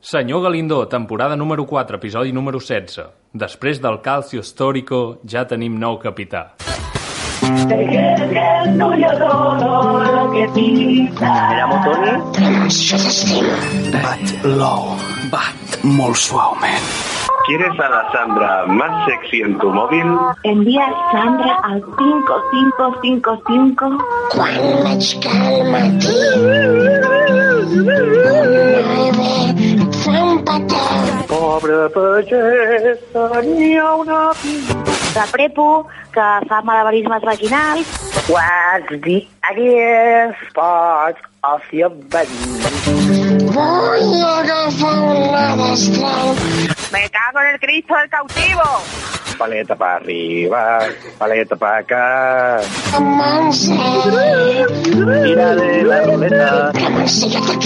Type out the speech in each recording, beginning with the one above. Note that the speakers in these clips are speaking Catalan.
Senyor Galindo, temporada número 4, episodi número 16. Després del calcio histórico ja tenim nou capità. Te quedas quedando yo todo lo que pisa. Miramos, Tony. Bat low. Bat molt suaument. ¿Quieres a la Sandra más sexy en tu móvil? Envía a Sandra al 5555. Quan m'aixeca al matí, un bebè fa un petó. Pobre pagès, tenia una... La Prepu, que fa malabarismes vaginals. What's the ugliest part of your body? Vull agafar una destral. ¡Me cago en el Cristo del cautivo! Paleta para arriba, paleta para acá. Amb monstre. Tira de la ruleta. Ramon, yo te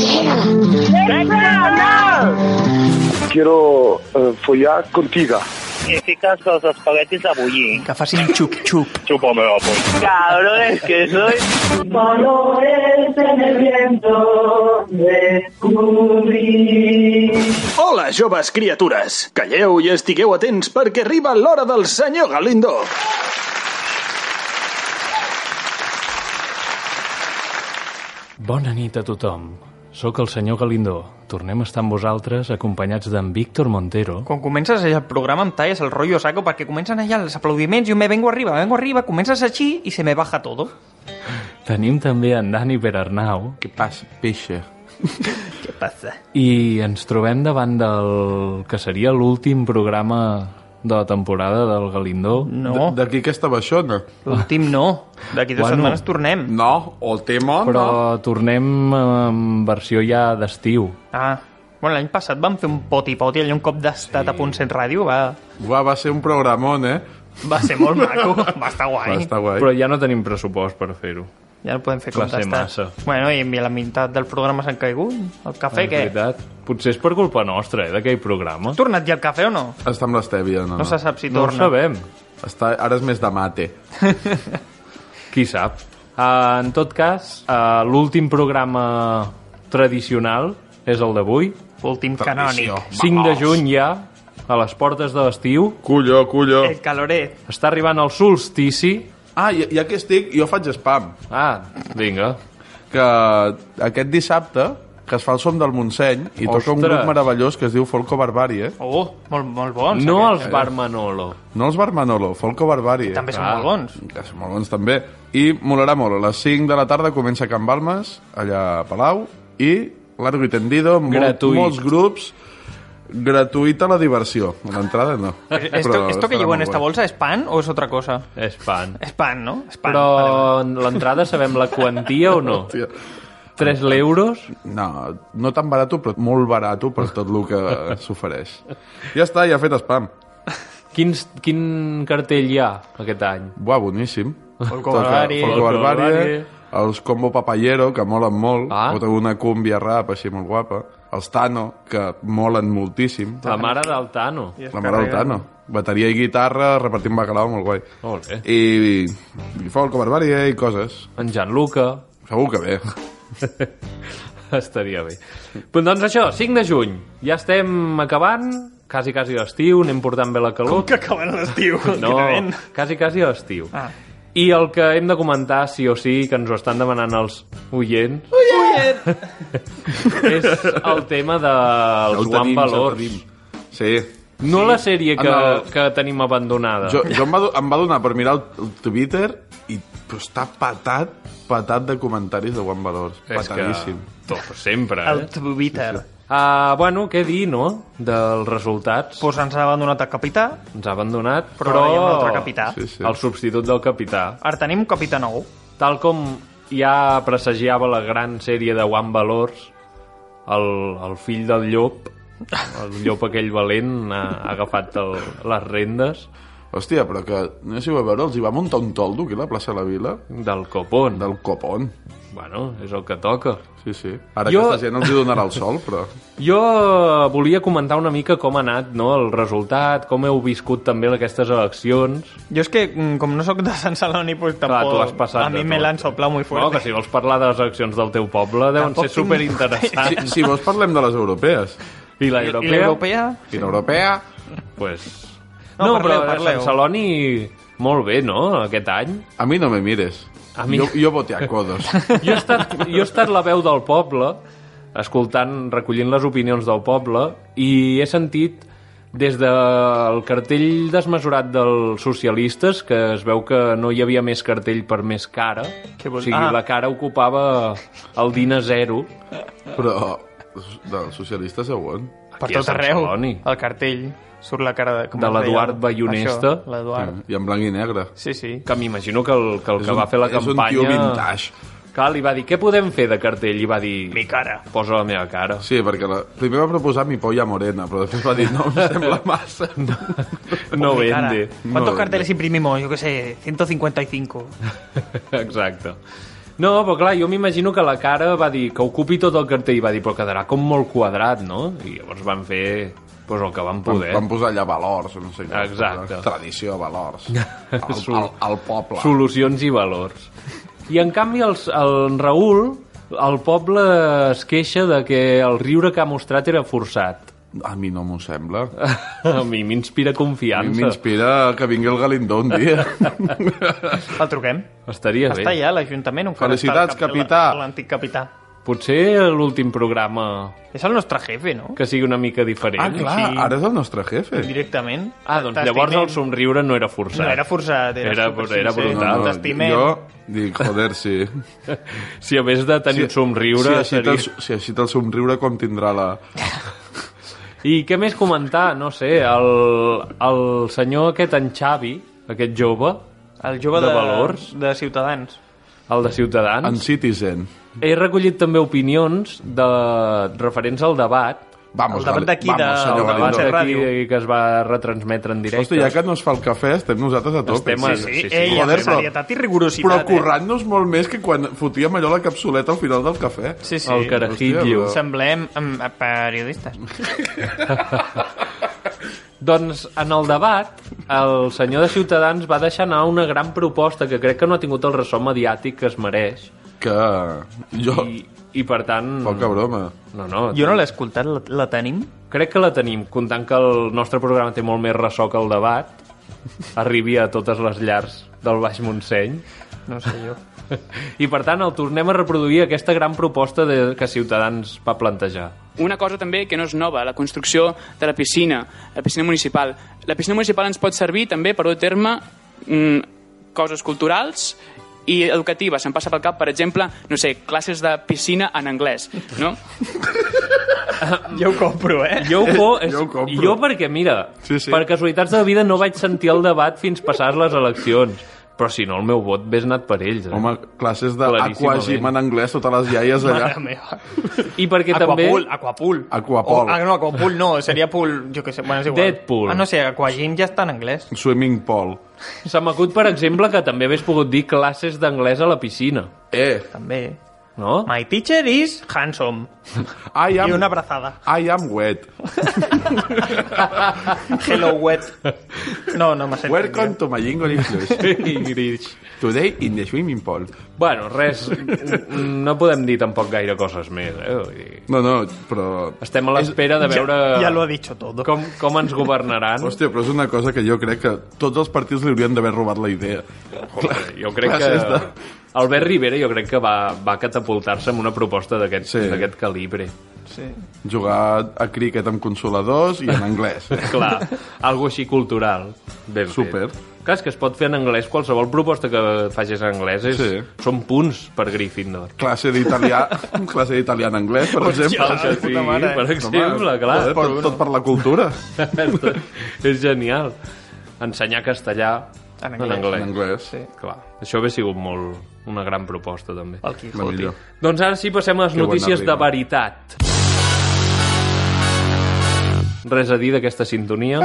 quiero. Quiero eh, follar contigo. i fiques els espaguetis a bullir. Que facin xup-xup. Xupa-me-la, pues. Cabrones que soy. Colores en el viento descubrí. Hola, joves criatures! Calleu i estigueu atents perquè arriba l'hora del senyor Galindo. Bona nit a tothom. Sóc el senyor Galindo. Tornem a estar amb vosaltres acompanyats d'en Víctor Montero. Quan comences el programa em talles el rotllo saco perquè comencen allà els aplaudiments i un me vengo arriba, me vengo arriba, comences així i se me baja todo. Tenim també en Dani Perarnau. Què passa, peixa? Què passa? I ens trobem davant del que seria l'últim programa de la temporada del Galindo. No, D'aquí aquesta baixona. l'últim no. D'aquí dues Bueno. setmanes tornem. No, o el tema, Però no. tornem en versió ja d'estiu. Ah, bueno, l'any passat vam fer un poti-poti allà un cop d'estat sí. a Ponset Ràdio, va, Uà, va ser un programón, eh? va ser molt maco, va estar guai. Va estar guai. Però ja no tenim pressupost per fer-ho. Ja no podem fer Va com ser d'estat. massa. Bueno, i la meitat del programa s'han caigut. El cafè, En què? veritat, potser és per culpa nostra, eh, d'aquell programa. Ha tornat ja el cafè o no? Està amb l'estèvia, no, No, se sap si No ho torna. sabem. Està, ara és més de mate. Qui sap? Uh, en tot cas, uh, l'últim programa tradicional és el d'avui. Últim canònic. 5 de juny ja, a les portes de l'estiu. Culló, culló. El caloret. Està arribant el solstici. Ah, ja, ja que estic, jo faig spam. Ah, vinga. Que aquest dissabte, que es fa el som del Montseny, i toca un Ostres. grup meravellós que es diu Folco Barbari, eh? Oh, molt, molt bons. No aquests. els Bar Manolo. No els Bar Manolo, Folco Barbari. eh? També són Ah. molt bons. que són molt bons també. I molarà molt. A les 5 de la tarda comença Can Balmes, allà a Palau, i largo i tendido, molt, Gratuït. molts grups, gratuïta la diversió. A L'entrada no. Eh, Esto, esto que estarà llevo en molt esta guai. bolsa es pan o es otra cosa? És fan. Es pan, ¿no? Es pan. Eh, Però en l'entrada sabem la quantia o no? Hòstia. 3 l'euros? No, no tan barato, però molt barato per tot el que s'ofereix. Ja està, ja ha fet spam. Quins, quin cartell hi ha aquest any? Buah, boníssim. Folco Toca Barbari. Folco Folco Barbari, Barbari. els Combo Papayero, que molen molt, Ah. o també una cumbia rap així molt guapa, els Tano, que molen moltíssim. La mare del Tano. La mare del Tano. Bateria i guitarra, repartint bacalao, molt guai. Molt bé. I, i folco, barbària i coses. En Gianluca. Segur que bé. Estaria bé. Però doncs això, 5 de juny. Ja estem acabant, quasi, quasi l'estiu, anem portant bé la calor. que acaben l'estiu. No, Quinament. quasi, quasi l'estiu. Ah. I el que hem de comentar, sí o sí, que ens ho estan demanant els oients, és el tema del Joan tenim, Valors. tenim. Sí. No la sèrie que, En el- que tenim abandonada. Jo, jo em, va, do- em va donar per mirar el, el Twitter i però està patat, patat de comentaris de Juan Valors. És que... Patadíssim. Tot, sempre, El eh? Twitter. Uh, bueno, què dir, no? Dels resultats. Pues ens ha abandonat el capità, Ens ha abandonat, però, però... ara hi ha un altre capità. Sí, sí. El substitut del capità. Ara tenim un capità nou. Tal com ja presagiava la gran sèrie de One Valors, el, el fill del llop, el llop aquell valent, ha, ha agafat el, les rendes Hòstia, però que no sé si ho va veure, els hi va muntar un toldo aquí a la plaça de la Vila, del copon. Del... del copon. Bueno, és el que toca. Sí, sí. Ara Jo- jo... aquesta gent els hi donarà el sol, però... Jo volia comentar una mica com ha anat no, el resultat, com heu viscut també aquestes eleccions. Jo és que, mm, com no sóc de Sant Celoni, pues, tampoc... tu has passat a mi de me tot. l'han soplat muy No, fuerte. que si vols parlar de les eleccions del teu poble deuen Tampoc ser superinteressants. Si, si vols parlem de les europees. I la europea? I l'europea? I l'europea? Pues... No, parleu, parleu. Sant Celoni molt bé, no?, aquest any. A mi no me mires. A mi- Jo, jo voté a codos. Jo he estat, jo he estat la veu del poble, escoltant, recollint les opinions del poble, i he sentit des del cartell desmesurat dels socialistes, que es veu que no hi havia més cartell per més cara, Què o vol- sigui, Ah. la cara ocupava el dinar zero. Però dels socialistes a on? Per Aquí a tot Sant arreu. Celoni. El cartell. Surt la cara de... Mm. com De es deia? l'Eduard Bayonesta. Això, L'Eduard. Mm, I en blanc i negre. Sí, sí. Que m'imagino que el que, el És que un- va fer la és un campanya... tio vintage. Clar, li va dir, què podem fer de cartell? I va dir, Mi cara. posa la meva cara. Sí, perquè la... primer va proposar mi polla morena, però després va dir no, em sembla massa. No. No Mi cara. vende. No, ¿Cuántos no. carteles imprimimos? Yo qué sé, 155. Exacte. No, però clar, jo m'imagino que la cara va dir que ocupi tot el cartell i va dir però quedarà com molt quadrat, no? I llavors van fer pues, el que van Van, poder. van posar allà valors, no sé què. Exacte. Tradició, valors. Al, al, al poble. Solucions i valors. I en canvi els, el Raül, el poble es queixa de que el riure que ha mostrat era forçat. A mi no m'ho sembla. A mi m'inspira A mi confiança. m'inspira que vingui el Galindó un dia. El truquem. Estaria Està bé. allà a l'Ajuntament. encara Felicitats, està el cap- capità. l- L'antic capità. Potser l'últim programa És el nostre jefe, no? que sigui una mica diferent. ah, clar, Sí. ara és el nostre jefe. Directament. Ah, doncs llavors el T'estimem. somriure no era forçat. No, era forçat. Era, Era- supersincer. era brutal. no, T'estimem. jo dic, joder, sí. Si a més de tenir un somriure... si així seria- te'l- Si així te'l somriure, com tindrà la... I què més comentar? No sé, el, el senyor aquest, en Xavi, aquest jove, El jove de de, valors. de Ciutadans. el de Ciutadans, En Citizen. he recollit també opinions de, referents al debat, Vamos, El debat Gali- d'aquí de- vamos, el senyor el debat Galindo. de d'aquí ràdio. que es va retransmetre en directe. Ah, Hosti, ja que no es fa el cafè, estem nosaltres a tope. Estem a- Sí, sí, Ei, Joder, Joder, seriedad i rigorositat. Però eh? currant-nos molt més que quan fotíem allò a la capsuleta al final del cafè. Sí, sí. El carajillo. Hòstia, Semblem mm, a periodistes. Doncs en el debat, el senyor de Ciutadans va deixar anar una gran proposta que crec que no ha tingut el ressò mediàtic que es mereix. Que jo... I, i per tant... Poca broma. No, no, Jo no l'he escoltat, la, la tenim? Crec que la tenim, comptant que el nostre programa té molt més ressò que el debat. Arribi a totes les llars del Baix Montseny. No sé jo. I, per tant, el tornem a reproduir aquesta gran proposta de, que Ciutadans va plantejar. Una cosa també que no és nova, la construcció de la piscina, la piscina municipal. La piscina municipal ens pot servir també per dur a terme mm, coses culturals i educatives. Se'n passa pel cap, per exemple, no sé, classes de piscina en anglès, no? Jo ho compro, eh? Jo ho, co és, Jo ho compro. jo perquè, mira, Sí, sí. per casualitats de la vida no vaig sentir el debat fins passades les eleccions. Però si no, el meu vot vés anat per ells. Eh? Home, classes d'aquagym Claríssimament. en anglès, totes les iaies Mare allà. meva. I perquè Aquapool, també... Aquapool. Aquapol. O- ah, no, Aquapool no, seria pool, jo què sé, bueno, és igual. Deadpool. Ah, no sé, Aquagym ja està en anglès. Swimming pool. Se m'acut, per exemple, que també hagués pogut dir classes d'anglès a la piscina. Eh, També. No? My teacher is handsome. I I am, una abraçada. I am wet. Hello, wet. No, no m'ha sentit. Welcome to my English. Ingrid. Today in the swimming pool. Bueno, res, n- no podem dir tampoc gaire coses més, eh? Vull dir, No, no, però... Estem a l'espera de veure Ja, ja lo ha dicho todo. com, com ens governaran. Hòstia, però és una cosa que jo crec que tots els partits li haurien d'haver robat la idea. Joder, jo crec que... Gràcies de- Albert Rivera jo crec que va, va catapultar-se amb una proposta d'aquest Sí. d'aquest calibre. Sí. Jugar a críquet amb consoladors i en anglès. Clar, algo així cultural. Ben fet. Súper. Clar, és que es pot fer en anglès. Qualsevol proposta que facis en anglès és, Sí. són punts per Gryffindor. classe d'italià classe d'italià en anglès, per exemple. Pel que sigui, per exemple, clar. Joder, tot, tot per la cultura. és genial. Ensenyar castellà En En anglès. anglès. En anglès. Sí. Clar, això hauria sigut molt una gran proposta, també. El La Quijote. millor. Doncs ara sí, passem a les Que bon notícies de arriba. veritat. Res a dir d'aquesta sintonia.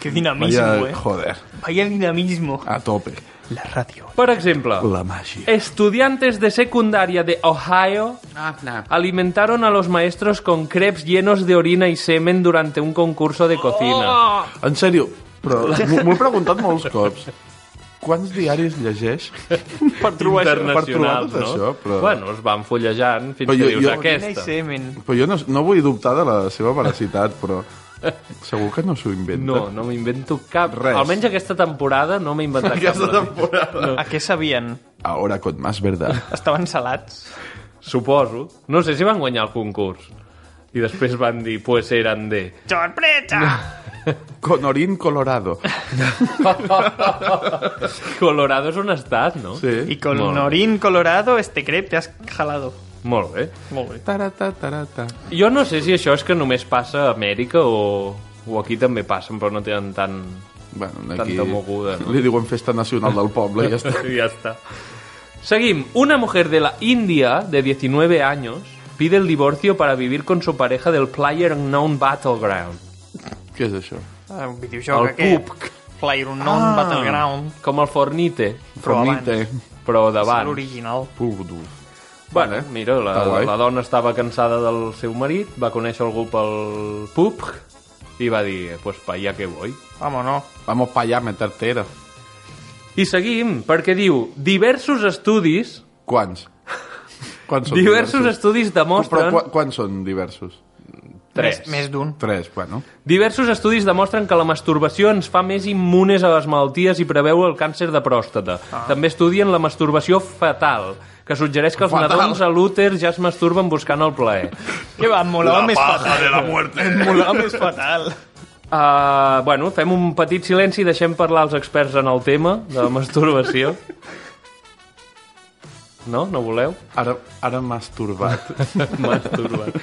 Que Vaya, dinamismo, eh? joder, Vaya dinamismo. a tope. La ràdio. Per exemple, La màgia. estudiantes de secundaria de Ohio Ah, alimentaron a los maestros con crepes llenos de orina y semen durante Oh! un concurso de cocina. En sèrio, però m'ho m'ho he preguntat molts cops. Quants diaris llegeix per trobar això. per trobar tot Internacionals, no? això? Però... Bueno, es van fullejant fins que dius, "Aquesta". Quina semen. Però jo no, no vull dubtar de la seva veracitat, però segur que no s'ho inventa. No, no m'invento cap. Res. Almenys aquesta temporada no m'he inventat Aquesta cap. temporada. A què sabien? Ahora con más verdad. Estaven salats? Suposo. No sé si van guanyar el concurs. I després van dir, pues eran de... Sorpresa! Conorín Colorado. Colorado és un estat, no? Sí. Y con Norín Colorado, este crepe te has jalado. Molt bé. Molt bé. Tarata, tarata. Jo no sé si això és que només passa a Amèrica o, o aquí també passen, però no tenen tant... Bueno, aquí... Tanta moguda, no? Li diuen Festa Nacional del Poble i ja està. Y ya está. Seguim. Una mujer de la India de 19 años pide el divorcio para vivir con su pareja del Player Unknown Battleground. Què és això? Ah, un El videojoc aquest. PUBG. Player un non Ah. battleground. Com el Fornite. Però Fornite. Però És davant. l'original. Purdu. Bueno, mira, Està la, guai. la dona estava cansada del seu marit, va conèixer algú pel PUBG i va dir, "Eh, pues pa allá que voy. Vamos, no. Vamos pa allá a meter tera. I seguim, perquè diu, diversos estudis... Quants? Quants són diversos, estudis demostren... Però quan, quants són diversos? Tres. Més, més d'un. Tres, bueno. Diversos estudis demostren que la masturbació ens fa més immunes a les malalties i preveu el càncer de pròstata. Ah. També estudien la masturbació fetal, que suggereix que els Fetal. nadons a l'úter ja es masturben buscant el plaer. Què va, em molava La més paja fatal. de la muerte. Em molava més fatal. Uh, bueno, fem un petit silenci i deixem parlar els experts en el tema de la masturbació. No? No voleu? Ara, ara masturbat. masturbat.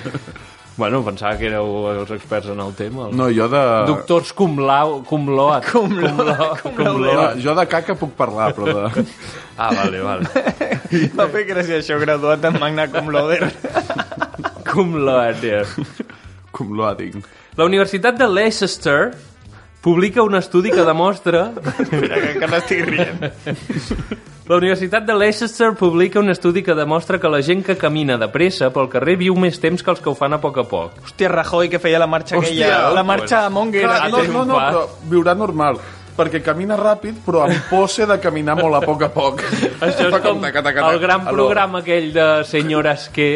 Bueno, pensava que éreu els experts en el tema. Els... No, jo de- Doctors cum lau... Cum loat. Cum loat. Cum No, jo de caca puc parlar, però de... Ah, vale, vale. Va fer gràcia això, graduat en magna cum laude. Cum laude. Cum loading. La Universitat de Leicester publica un estudi que demostra... Espera, que encara estic rient. La Universitat de Leicester publica un estudi que demostra que la gent que camina de pressa pel carrer viu més temps que els que ho fan a poc a poc. Hòstia, Rajoy, que feia la marxa Hòstia, aquella. La marxa a Monger. Clar, no, no, no, però viurà normal. Perquè camina ràpid, però amb pose de caminar molt a poc a poc. Això és com el gran programa aquell de senyores que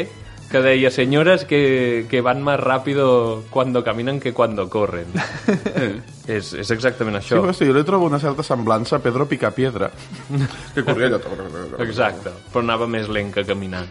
que deia senyores que, que van más rápido cuando caminan que cuando corren. és, és exactament Sí, això. però sí, jo li trobo una certa semblança a Pedro Picapiedra. Que corria allò... Exacte, però anava més lent que caminant.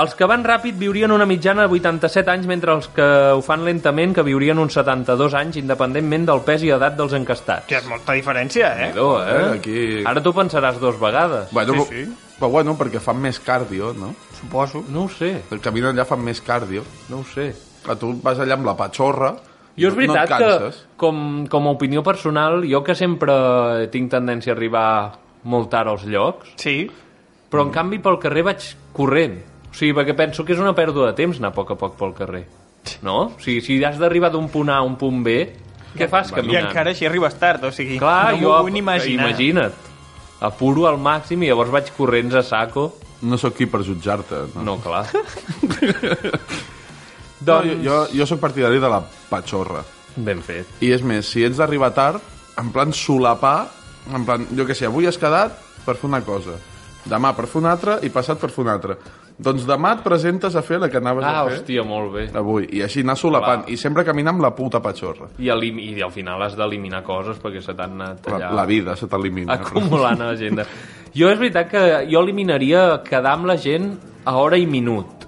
Els que van ràpid viurien una mitjana de 87 anys, mentre els que ho fan lentament que viurien uns 72 anys, independentment del pes i edat dels encastats. Que és molta diferència, eh? Déu, eh? Eh, aquí- Ara t'ho pensaràs dos vegades. Bueno, sí, sí. Però bueno, perquè fan més cardio, no? Suposo. No ho sé. El camí allà fan més cardio. No ho sé. Que tu vas allà amb la patxorra, Jo és veritat no et que, canses. com, com a opinió personal, jo que sempre tinc tendència a arribar molt tard als llocs... Sí. Però, en canvi, pel carrer vaig corrent. O sigui, perquè penso que és una pèrdua de temps anar a poc a poc pel carrer. No? O sigui, si has d'arribar d'un punt A a un punt B, què fas I caminant? encara així arribes tard, o sigui, Clar, no m'ho jo, vull ni imaginar. Imagina't. Apuro al màxim i llavors vaig corrents a saco. No sóc qui per jutjar-te. No, no clar. doncs... no, jo, jo sóc partidari de la patxorra. Ben fet. I és més, si ets d'arribar tard, en plan solapar, en plan, jo què sé, avui has quedat per fer una cosa, demà per fer una altra i passat per fer una altra. Doncs demà et presentes a fer la que anaves Ah, a fer hòstia, molt bé. avui. I així anar solapant. Clar. I sempre caminar amb la puta patxorra. I, elim... I al final has d'eliminar coses perquè se t'han anat La, allà... Ah, la vida se t'elimina. acumulant a l'agenda. Jo és veritat que jo eliminaria quedar amb la gent a hora i minut.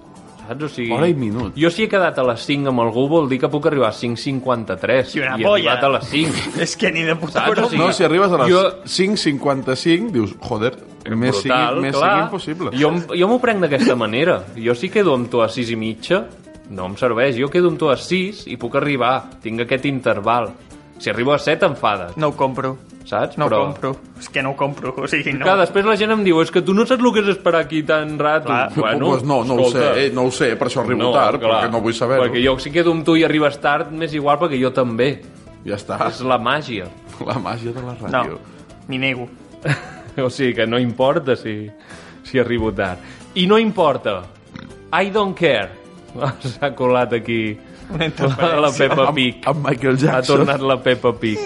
Saps? O sigui, Hora i minut. Jo si he quedat a les 5 amb algú vol dir que puc arribar a 5.53 I una he polla. arribat a les 5. És que ni de puta Saps? broma. O sigui, No, si arribes a les Jo, 5.55, dius, joder, més, brutal, sigui, més clar, sigui impossible. Jo, em- jo m'ho prenc d'aquesta manera. Jo si quedo amb tu a 6 i mitja, no em serveix. Jo quedo amb tu a 6 i puc arribar. Tinc aquest interval. Si arribo a 7, enfades. No ho compro. Saps? No ho Però... compro. És que no ho compro, o sigui, no. Clar, després la gent em diu, és que tu no saps el que és esperar aquí tan rato. Clar. Bueno, pues no, no escolta, ho sé, eh, no ho sé, per això arribo no, tard, clar, perquè no vull saber-ho. Perquè jo si quedo amb tu i arribes tard, m'és igual perquè jo també. Ja està, És la màgia. la màgia de la ràdio. No, m'hi nego. o sigui que no importa si, si arribo tard. I no importa. I don't care. S'ha colat aquí Una la, la interferència. Peppa Pig. Amb Michael Ha Jackson. tornat la Peppa Pig.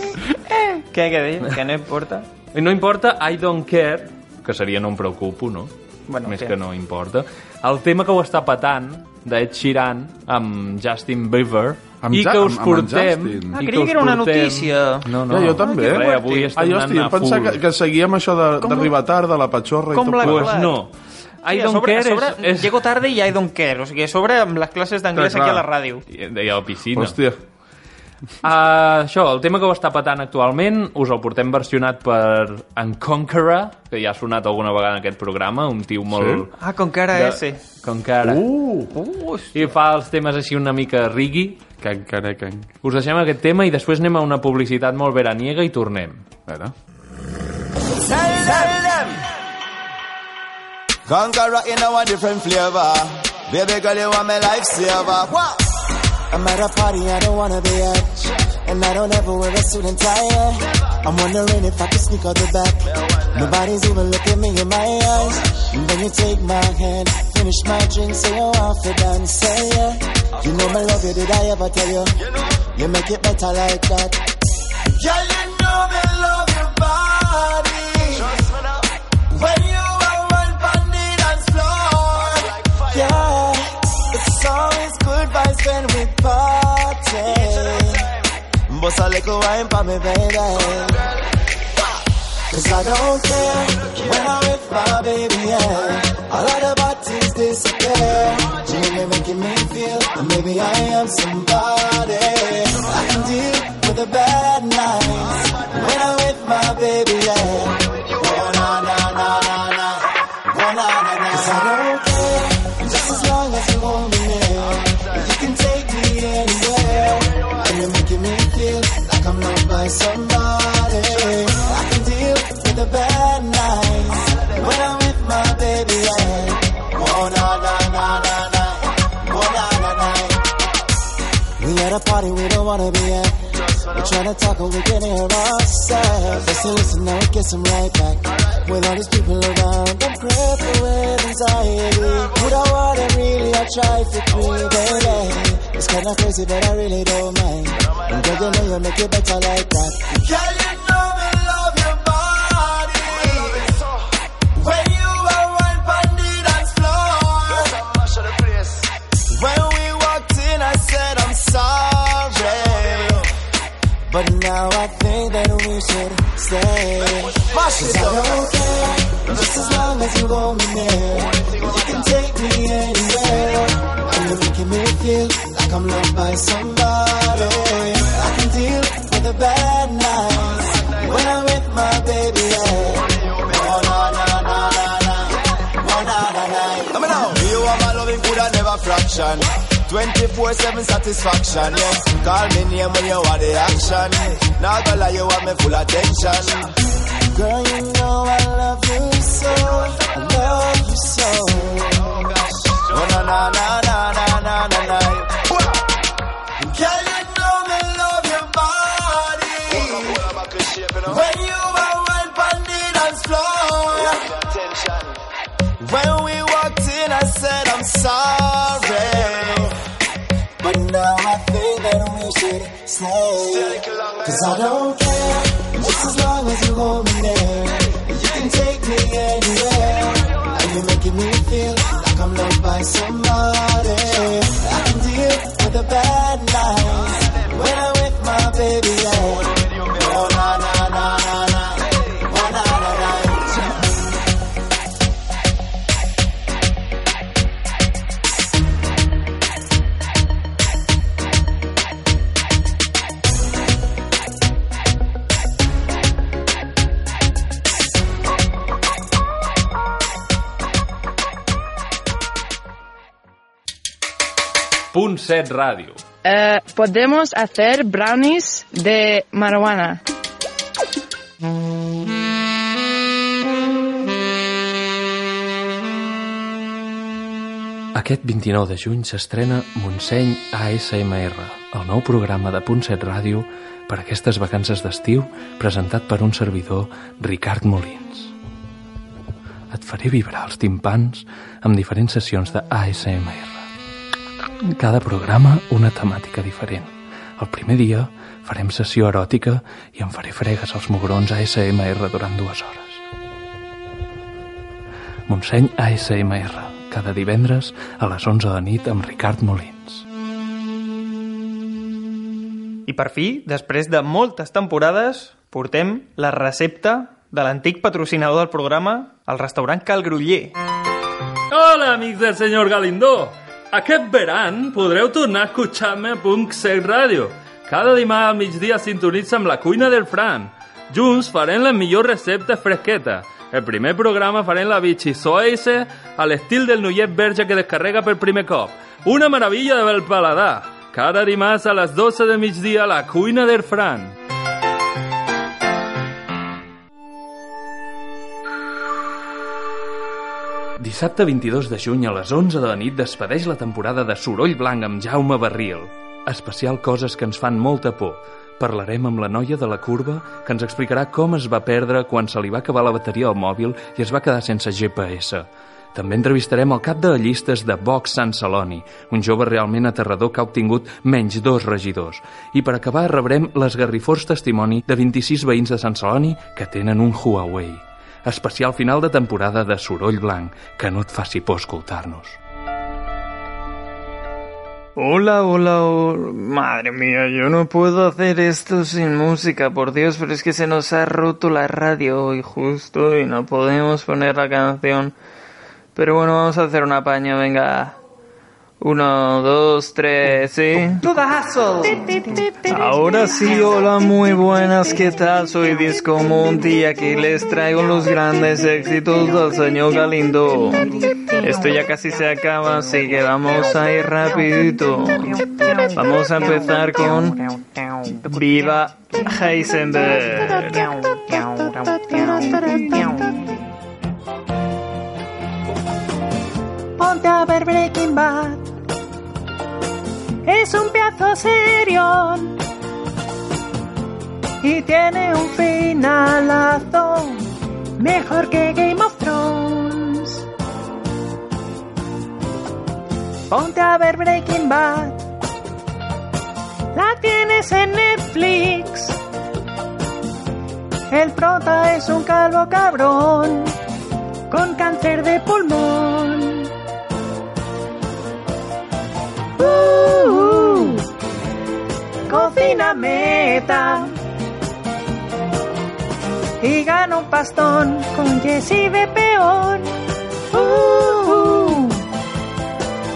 Què, què deia? Que no importa? I no importa I don't care, que seria no em preocupo, no? Bueno, Més què? que no importa. El tema que ho està patant, d'Ed Sheeran, amb Justin Bieber, Amb i Ja- que us amb- amb en portem... Justin. Ah, i creia us que era una portem- notícia. No, no. Ja, jo també. Res, avui estem ah, jo, hòstia, anant a pensava full. que, que seguíem això de- d'arribar tard, de la patxorra Com i tot la- plegat. Pues no. I Sí, a don't sobre, a care sobre, és- és- Llego tarde i I don't care. O sigui, a sobre amb les classes d'anglès Clar, aquí clar. a la ràdio. I, i a la piscina. Hòstia. Uh, això, el tema que ho està patant actualment us el portem versionat per en Conqueror, que ja ha sonat alguna vegada en aquest programa, un tio molt... Ah, con cara De- S. Conqueror. Uh, I fa els temes així una mica rigui. Can, can, can. Us deixem aquest tema i després anem a una publicitat molt veraniega i tornem. A veure. Conqueror in a one different flavor. Baby girl, you want my lifesaver. What? I'm at a party I don't wanna be at, and I don't ever wear a suit and tie. yeah. I'm wondering if I can sneak out the back. Nobody's even looking me in my eyes. And then you take my hand, finish my drink, say you off to dance, say yeah. You know my love you, did I ever tell you? You make it better like that. Girl, you know me love your body. When you are one on the dance floor. Yeah, it's always good vibes when we party. Bust a little wine for me, baby. Cause I don't care when I'm with my baby, yeah. All of the bodies disappear. You make making me feel that maybe I am somebody. I can deal with the bad nights when I'm with my baby, yeah. Oh, na, na, na, na, na. Oh, na, na, na. Cause I don't care just as long as you hold me, yeah. You can take me anywhere. And you're making me feel like I'm loved by somebody. I can deal with the bad nights when I'm with my baby. Yeah. Oh, na, na, na, na, na. Oh, na, na, na. We at a party we don't wanna be at. We're trying to talk and we can hear ourselves. Listen, listen, now it gets 'em right back. With all these people around, I'm crippled with anxiety. Put out what I really I try for free, baby. It's kinda crazy, but I really don't mind. And girl, you know you make it better like that. Girl, you know me love your body. When you are right on the dance floor. When we walked in, I said I'm sorry. But now I think that we should stay. Cause I don't care, just as long as you hold me near. You can take me anywhere. And you're making me feel like I'm loved by somebody. I can deal with the bad nights when I'm with my baby. Yeah. Oh, na, na, na, na, na. Oh, na, na, na. Come on now. You are my loving, could I never fraction. 24-7 satisfaction, yes. Call me name when you want the action. Now gonna lie, you want me full attention. Girl, you know I love you so. I love you so. Oh, na na na na na na na na. Girl, you know me love your body. When you are wild on the dance floor. When we walked in, I said I'm sorry. But now I think that we should stay. Cause I don't care, just as long as you hold me there. You can take me anywhere. And you're making me feel like I'm loved by somebody. I can deal with the bad nights when I'm with my baby. Yeah. Oh, na, na, na, na, na. Oh, na, na, na. Punt 7 ràdio. Eh, podemos hacer brownies de marihuana. Aquest 29 de juny s'estrena Montseny ASMR, el nou programa de Punt 7 Ràdio per aquestes vacances d'estiu presentat per un servidor, Ricard Molins. Et faré vibrar els timpans amb diferents sessions de ASMR. Cada programa una temàtica diferent, El primer dia farem sessió eròtica i em faré fregues als mugrons ASMR durant dues hores. Montseny ASMR, cada divendres a les 11 de nit amb Ricard Molins. I per fi, després de moltes temporades, portem la recepta de l'antic patrocinador del programa, el restaurant Cal Gruller. Hola, amics del senyor Galindó. Aquest verano podreu tornar a escuchar-me a Punk Sec Radio. Cada dimarts al migdia sintonitza amb la cuina del Fran. Junts farem les millors receptes fresquetes. El primer programa farem la bitxisoise a l'estil del noiet verge que descarrega per primer cop. Una meravella del paladar. Cada dimarts a les 12 de migdia a la cuina del Fran. Dissabte 22 de juny a les 11 de la nit despedeix la temporada de Soroll Blanc amb Jaume Barril. Especial coses que ens fan molta por. Parlarem amb la noia de la curva que ens explicarà com es va perdre quan se li va acabar la bateria al mòbil i es va quedar sense GPS. També entrevistarem el cap de llistes de Vox Sant Celoni, un jove realment aterrador que ha obtingut menys dos regidors. I per acabar rebrem l'esgarrifós testimoni de 26 veïns de Sant Celoni que tenen un Huawei. Especial final de temporada de Soroll Blanc, que no et faci por escoltar-nos. Hola, hola, hola. Madre mía, yo no puedo hacer esto sin música, por Dios, pero es que se nos ha roto la radio hoy justo y no podemos poner la canción. Pero bueno, vamos a hacer un apaño, venga. Uno, dos, tres, sí. To the hustle. Ahora sí, hola, muy buenas, ¿qué tal? Soy Disco Monty y aquí les traigo los grandes éxitos del señor Galindo. Esto ya casi se acaba, así que vamos a ir rapidito. Vamos a empezar con Viva Heisenberg. é um- Ponte a ver Breaking Bad. Es un pedazo serio. Y tiene un finalazo mejor que Game of Thrones. Ponte a ver Breaking Bad. La tienes en Netflix. El prota es un calvo cabrón con cáncer de pulmón. Uh, uh. cocina meta y gana un pastón con Jesse de peón. Uh, uh.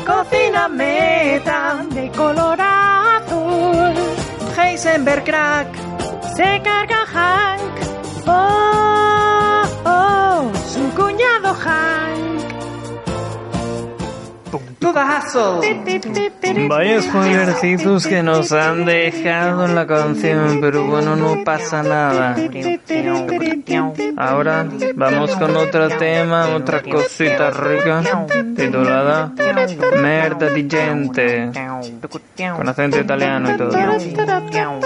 cocina meta de color azul. Heisenberg crack se carga Hank. Oh, oh, su cuñado Hank. To the hustle. Vaya spoilercitos que nos han dejado en la canción, pero bueno, no pasa nada. Ahora vamos con otro tema, otra cosita rica, titulada Merda di gente, con acento italiano y todo.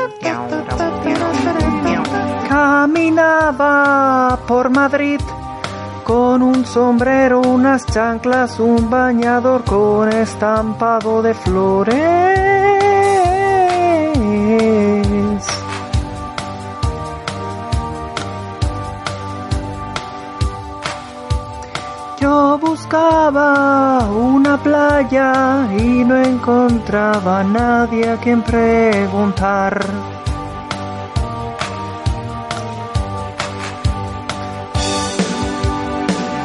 Caminaba por Madrid con un sombrero, unas chanclas, un bañador con estampado de flores. Yo buscaba una playa y no encontraba a nadie a quien preguntar.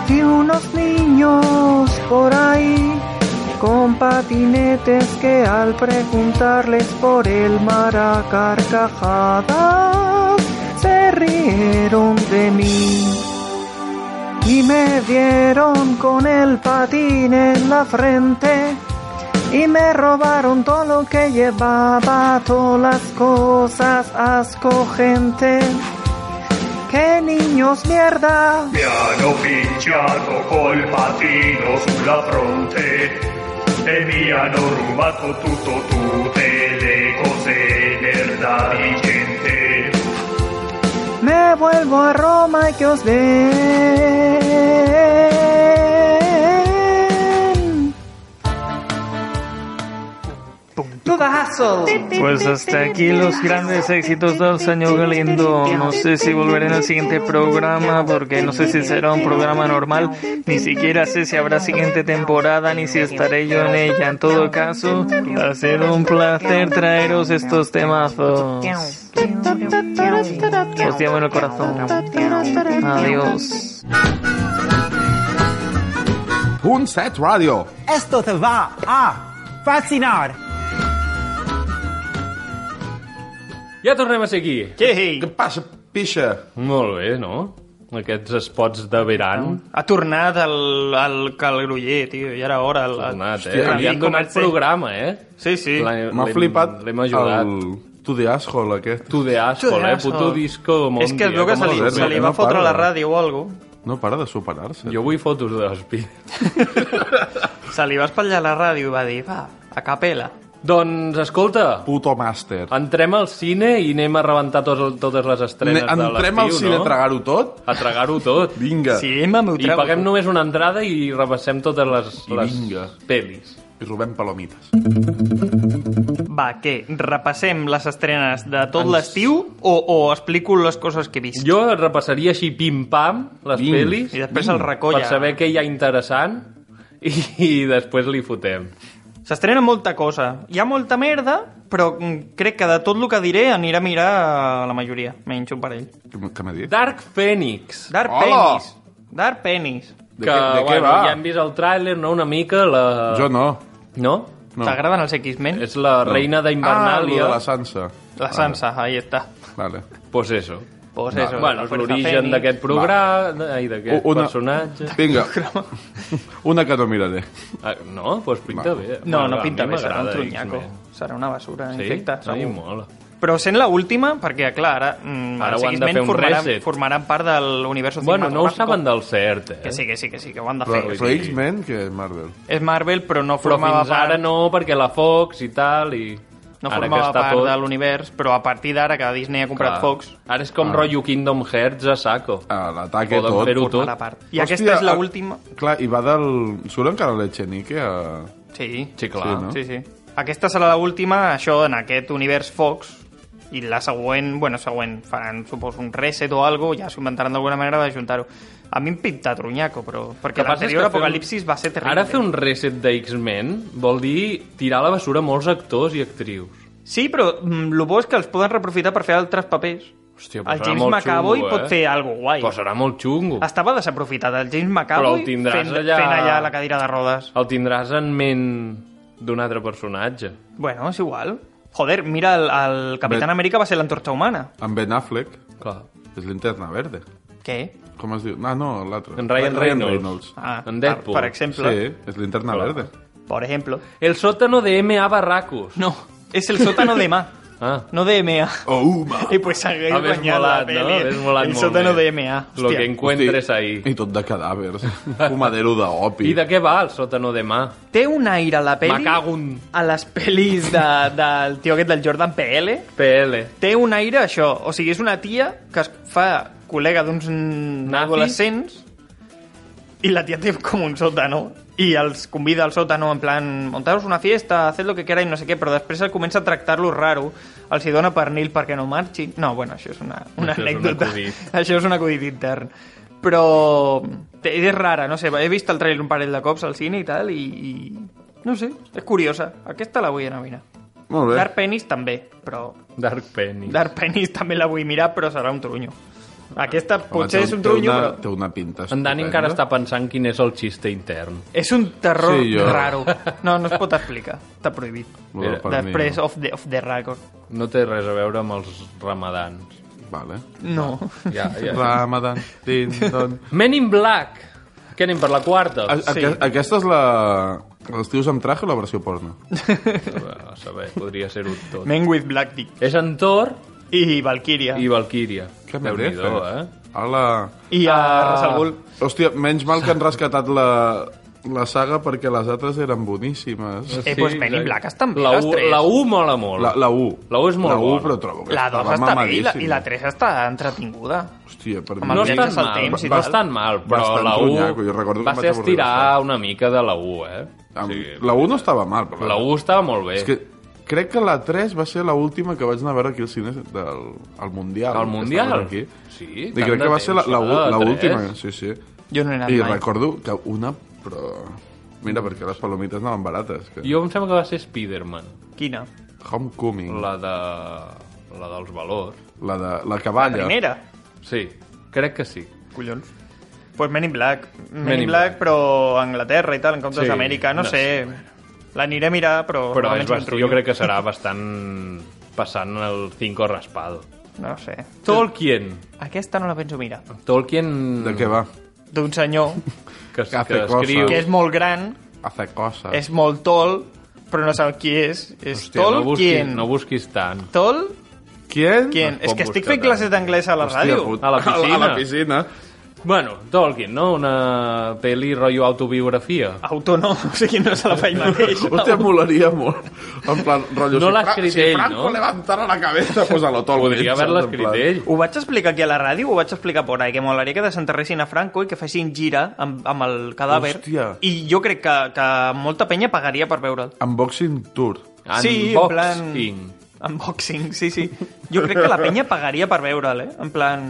Vi unos niños por ahí con patinetes que al preguntarles por el mar a carcajadas se rieron de mí y me dieron con el patín en la frente y me robaron todo lo que llevaba, todas las cosas, asco gente. ¡Qué niños mierda! Mi hanno picchiato col patino sulla fronte e mi hanno rubato tutto, tutte le cose merda di gente. Me vuelvo a Roma y que os den. To to the hustle. Pues hasta aquí los grandes éxitos del señor Galindo. No sé si volveré en el siguiente programa porque no sé si será un programa normal. Ni siquiera sé si habrá siguiente temporada ni si estaré yo en ella. En todo caso, ha sido un placer traeros estos temazos. Los é um- llevo en el corazón. Ah, Adiós. Punset Radio. Esto te va a fascinar. Ja tornem a ser aquí. Hey. Què passa, pixa? Molt bé, no? Aquests spots de verano. Ha tornat el, el Calgruller, tio, ja era hora. El, Tornat, eh? Li han donat programa, eh? Sí, sí. M'ha flipat L'hem ajudat. el Tu de Asshole, aquest. Tu de Asshole, eh? Puto disco eh? mondi. És que es veu que se li, se li va fotre la ràdio o algo. No para de superar-se. Jo vull fotos de l'espi. Se li va espatllar la ràdio i va dir, va, a capela. Doncs, escolta... Puto màster. Entrem al cine i anem a rebentar tots, totes les estrenes Ne- de l'estiu, no? entrem al cine a tragar-ho tot? A tragar-ho tot. Vinga. Sí, mami, ho I trago paguem tot. només una entrada i repassem totes les, I les vinga. pel·lis. I robem palomites. Va, què? Repassem les estrenes de tot l'estiu o, o explico les coses que he vist? Jo repassaria així pim-pam les Vinga. pel·lis. I després el recolla. Mm, Per saber què hi ha interessant i, i després li fotem. S'estrena molta cosa. Hi ha molta merda, però mm, crec que de tot el que diré anirà a mirar eh, la majoria, menys un parell. Què m'ha dit? Dark Phoenix. Dark Hola! Penis. Dark Penis. que, bueno, ja hem vist el tràiler, no? Una mica la... Jo no. No? No. T'agraden els X-Men? És la No. reina d'Invernàlia. Ah, lo de la Sansa. La Sansa, ahí està. Vale. Pues eso. Pues Vale. eso, bueno, la és Fuerza l'origen Fénix. d'aquest programa, ai, d'aquest Una- personatge... Vinga. Una que no miraré. Ah, no? Doncs pues pinta Va. bé. No, Bueno, no a pinta mi bé, serà un m'agrada trunyaco. X-Men. Serà una basura Sí? infecta, a mi segur. mola. Però sent la última, perquè, clar, ara, mm, Ara els ho han de fer X-Men un formaran, reset. formaran part de l'univers Bueno, no ho cinematogràfic. saben del cert, eh? Que sí, que sí, que sí, que ho han de fer. Però, però X-Men, que Marvel. És Marvel, però no Però formava fins ara part, no, perquè la Fox i tal, i... no ara que formava està part tot- de l'univers, però a partir d'ara que Disney ha comprat Clar. Fox, Ara és com Ah. rotllo Kingdom Hearts a saco. Ah, l'ataque Poden tot. fer-ho tot. formarà part. I aquesta és ah, l'última... Clar, i va del... Surt encara l'Echenique a... Sí. Sí, clar. Sí, no? sí, sí. Aquesta serà l'última, això, en aquest univers Fox, i la següent, bueno, següent, faran, suposo, un reset o algo, ja s'ho inventaran d'alguna manera d'ajuntar-ho. A mi em pinta trunyaco, però... Perquè El que passa és l'anterior que fer un- Apocalipsis va ser terrible. Ara fer un reset de X-Men vol dir tirar a la bessura molts actors i actrius. Sí, però el bo és que els poden reprofitar per fer altres papers. Hòstia, El James McAvoy eh? pot fer algo guai. Però serà molt xungo. Estava desaprofitat el Però el James McAvoy fent, tindràs allà... fent allà la cadira de rodes. El tindràs en ment d'un altre personatge. Bueno, és igual. Joder, mira, el, el Capitán Bé. Amèrica va ser l'antorxa humana. Amb Ben Affleck. Clar. És l'interna verde. Què? Com es diu? Ah, no, l'altre. En Ryan Reynolds. Ah, En Deadpool. Per, per exemple. Sí, és l'interna Clar. verde. Por ejemplo. El sótano de M.A. Barracus. No, és el sòtano de MA, Ah. no de MA. Oh, uma. I pues hagués Hauries guanyat la molat, no? peli. Hauries molat el molt sòtano més. de MA. Lo Hòstia. que encuentres ahí. I tot de cadàvers. Fumadero d'opi. I de què va el sótano de mà? Té un aire a la peli... Me cago en A les pel·lis de, del tio aquest del Jordan PL, PL. té un aire a això. O sigui, és una tia que es fa col·lega d'uns adolescents i la tia té com un sòtano i els convida al sòtano en plan montaros una fiesta, haced lo que queráis, no sé què, però després el comença a tractar-lo raro, els hi dona pernil perquè no marxin... No, bueno, això és una, una Això és un anècdota. acudit. Això és un acudit intern. Però té- és rara, no sé, he vist el trailer un parell de cops al cine i tal, i, i no sé, és curiosa. Aquesta la vull anar a mirar. Molt bé. Dark Penis també, però Dark Penny. Dark Penis també la vull mirar, però serà un trunyo. Aquesta Home, potser té- és un té trunyo, una- però... Té una pinta En Dani estupenda. encara està pensant quin és el xiste intern. És un terror Sí, jo. raro. No, no es pot explicar. Està prohibit. Bueno, Mira, per mi Després, no. of the, of the record. No té res a veure amb els ramadans. Vale. No. Ja, ja. Ramadan, din, don. Men in Black. Què anem per la quarta? A, sí. Aquesta és la... Els tios amb traje o la versió porno? A saber, podria ser-ho tot. Men with Black Dick. És en Thor I Valkyria. i I, Valkyria. Què me Déu-n'hi-do, dices? eh? Hola. I a Ah, Ras al Ghul. Hòstia, menys mal que han rescatat la, la saga perquè les altres eren boníssimes. Eh, pues Men in exacte. Black estan bé, La les U, tres. la U mola molt. La, la 1. La U és molt La 1, bona. però trobo que La 2 està bé estava i la, mamadíssima. i la 3 està entretinguda. Hòstia, per Amb No el mi- és tan viatges al mal, temps i no tal. és tan mal, però Bastant la ronyaco, jo recordo U que va em ser vaig avorrir estirar una mica de la U, eh? Amb, Sí. la 1 no estava mal, però... La U estava molt bé. És que Crec que la 3 va ser l'última que vaig anar a veure aquí al cine del al Mundial. Al que Mundial? estava Aquí. Sí, I tant crec de que va ser la- temps, la- la la tres. última, sí, sí. Jo no he anat I mai. recordo que una, però... Mira, perquè les palomites anaven barates. Que... Jo em sembla que va ser Spider-Man. Quina? Homecoming. La de... La dels valors. La, de, la cavalla. La primera? Sí, crec que sí. Collons. Pues Men in Black. Men, Men in in Black, però a Anglaterra i tal, en comptes Sí, d'Amèrica, no, no sé. L'aniré a mirar, però... Però normalment és se'n bast... jo trullo. crec que serà bastant passant el 5 raspado. No sé. Tolkien. Aquesta no la penso mirar. Tolkien... De què va? D'un senyor Que, Mm. que, hace cosas. escriu... que és molt gran, Hace cosas. és molt tol, però no sap qui és. És Ah. Hòstia, no busquis, Tolkien. no busquis tant. Tol... Quién? Quién? No es És pot que estic buscar fent tant. classes d'anglès a la Hòstia, ràdio. puta. A la piscina. Bueno, Tolkien, no? Una pel·li rotllo autobiografia. Auto no, o sigui, no se la fa ell mateix. Hòstia, molaria molt. En plan, rotllo, No si, l'ha Fra- escrit si ell, Franco no? levantara la cabeza, pues a lo Tolkien. Podria haver-la saps? En escrit plan- ell. Ho vaig explicar aquí a la ràdio, ho vaig explicar por ahí, que molaria que desenterressin a Franco i que fessin gira amb, amb el cadàver. Hòstia. I jo crec que, que molta penya pagaria per veure'l. Unboxing Tour. Sí, en plan... Unboxing, sí, sí. Jo crec que la penya pagaria per veure'l, eh? En plan...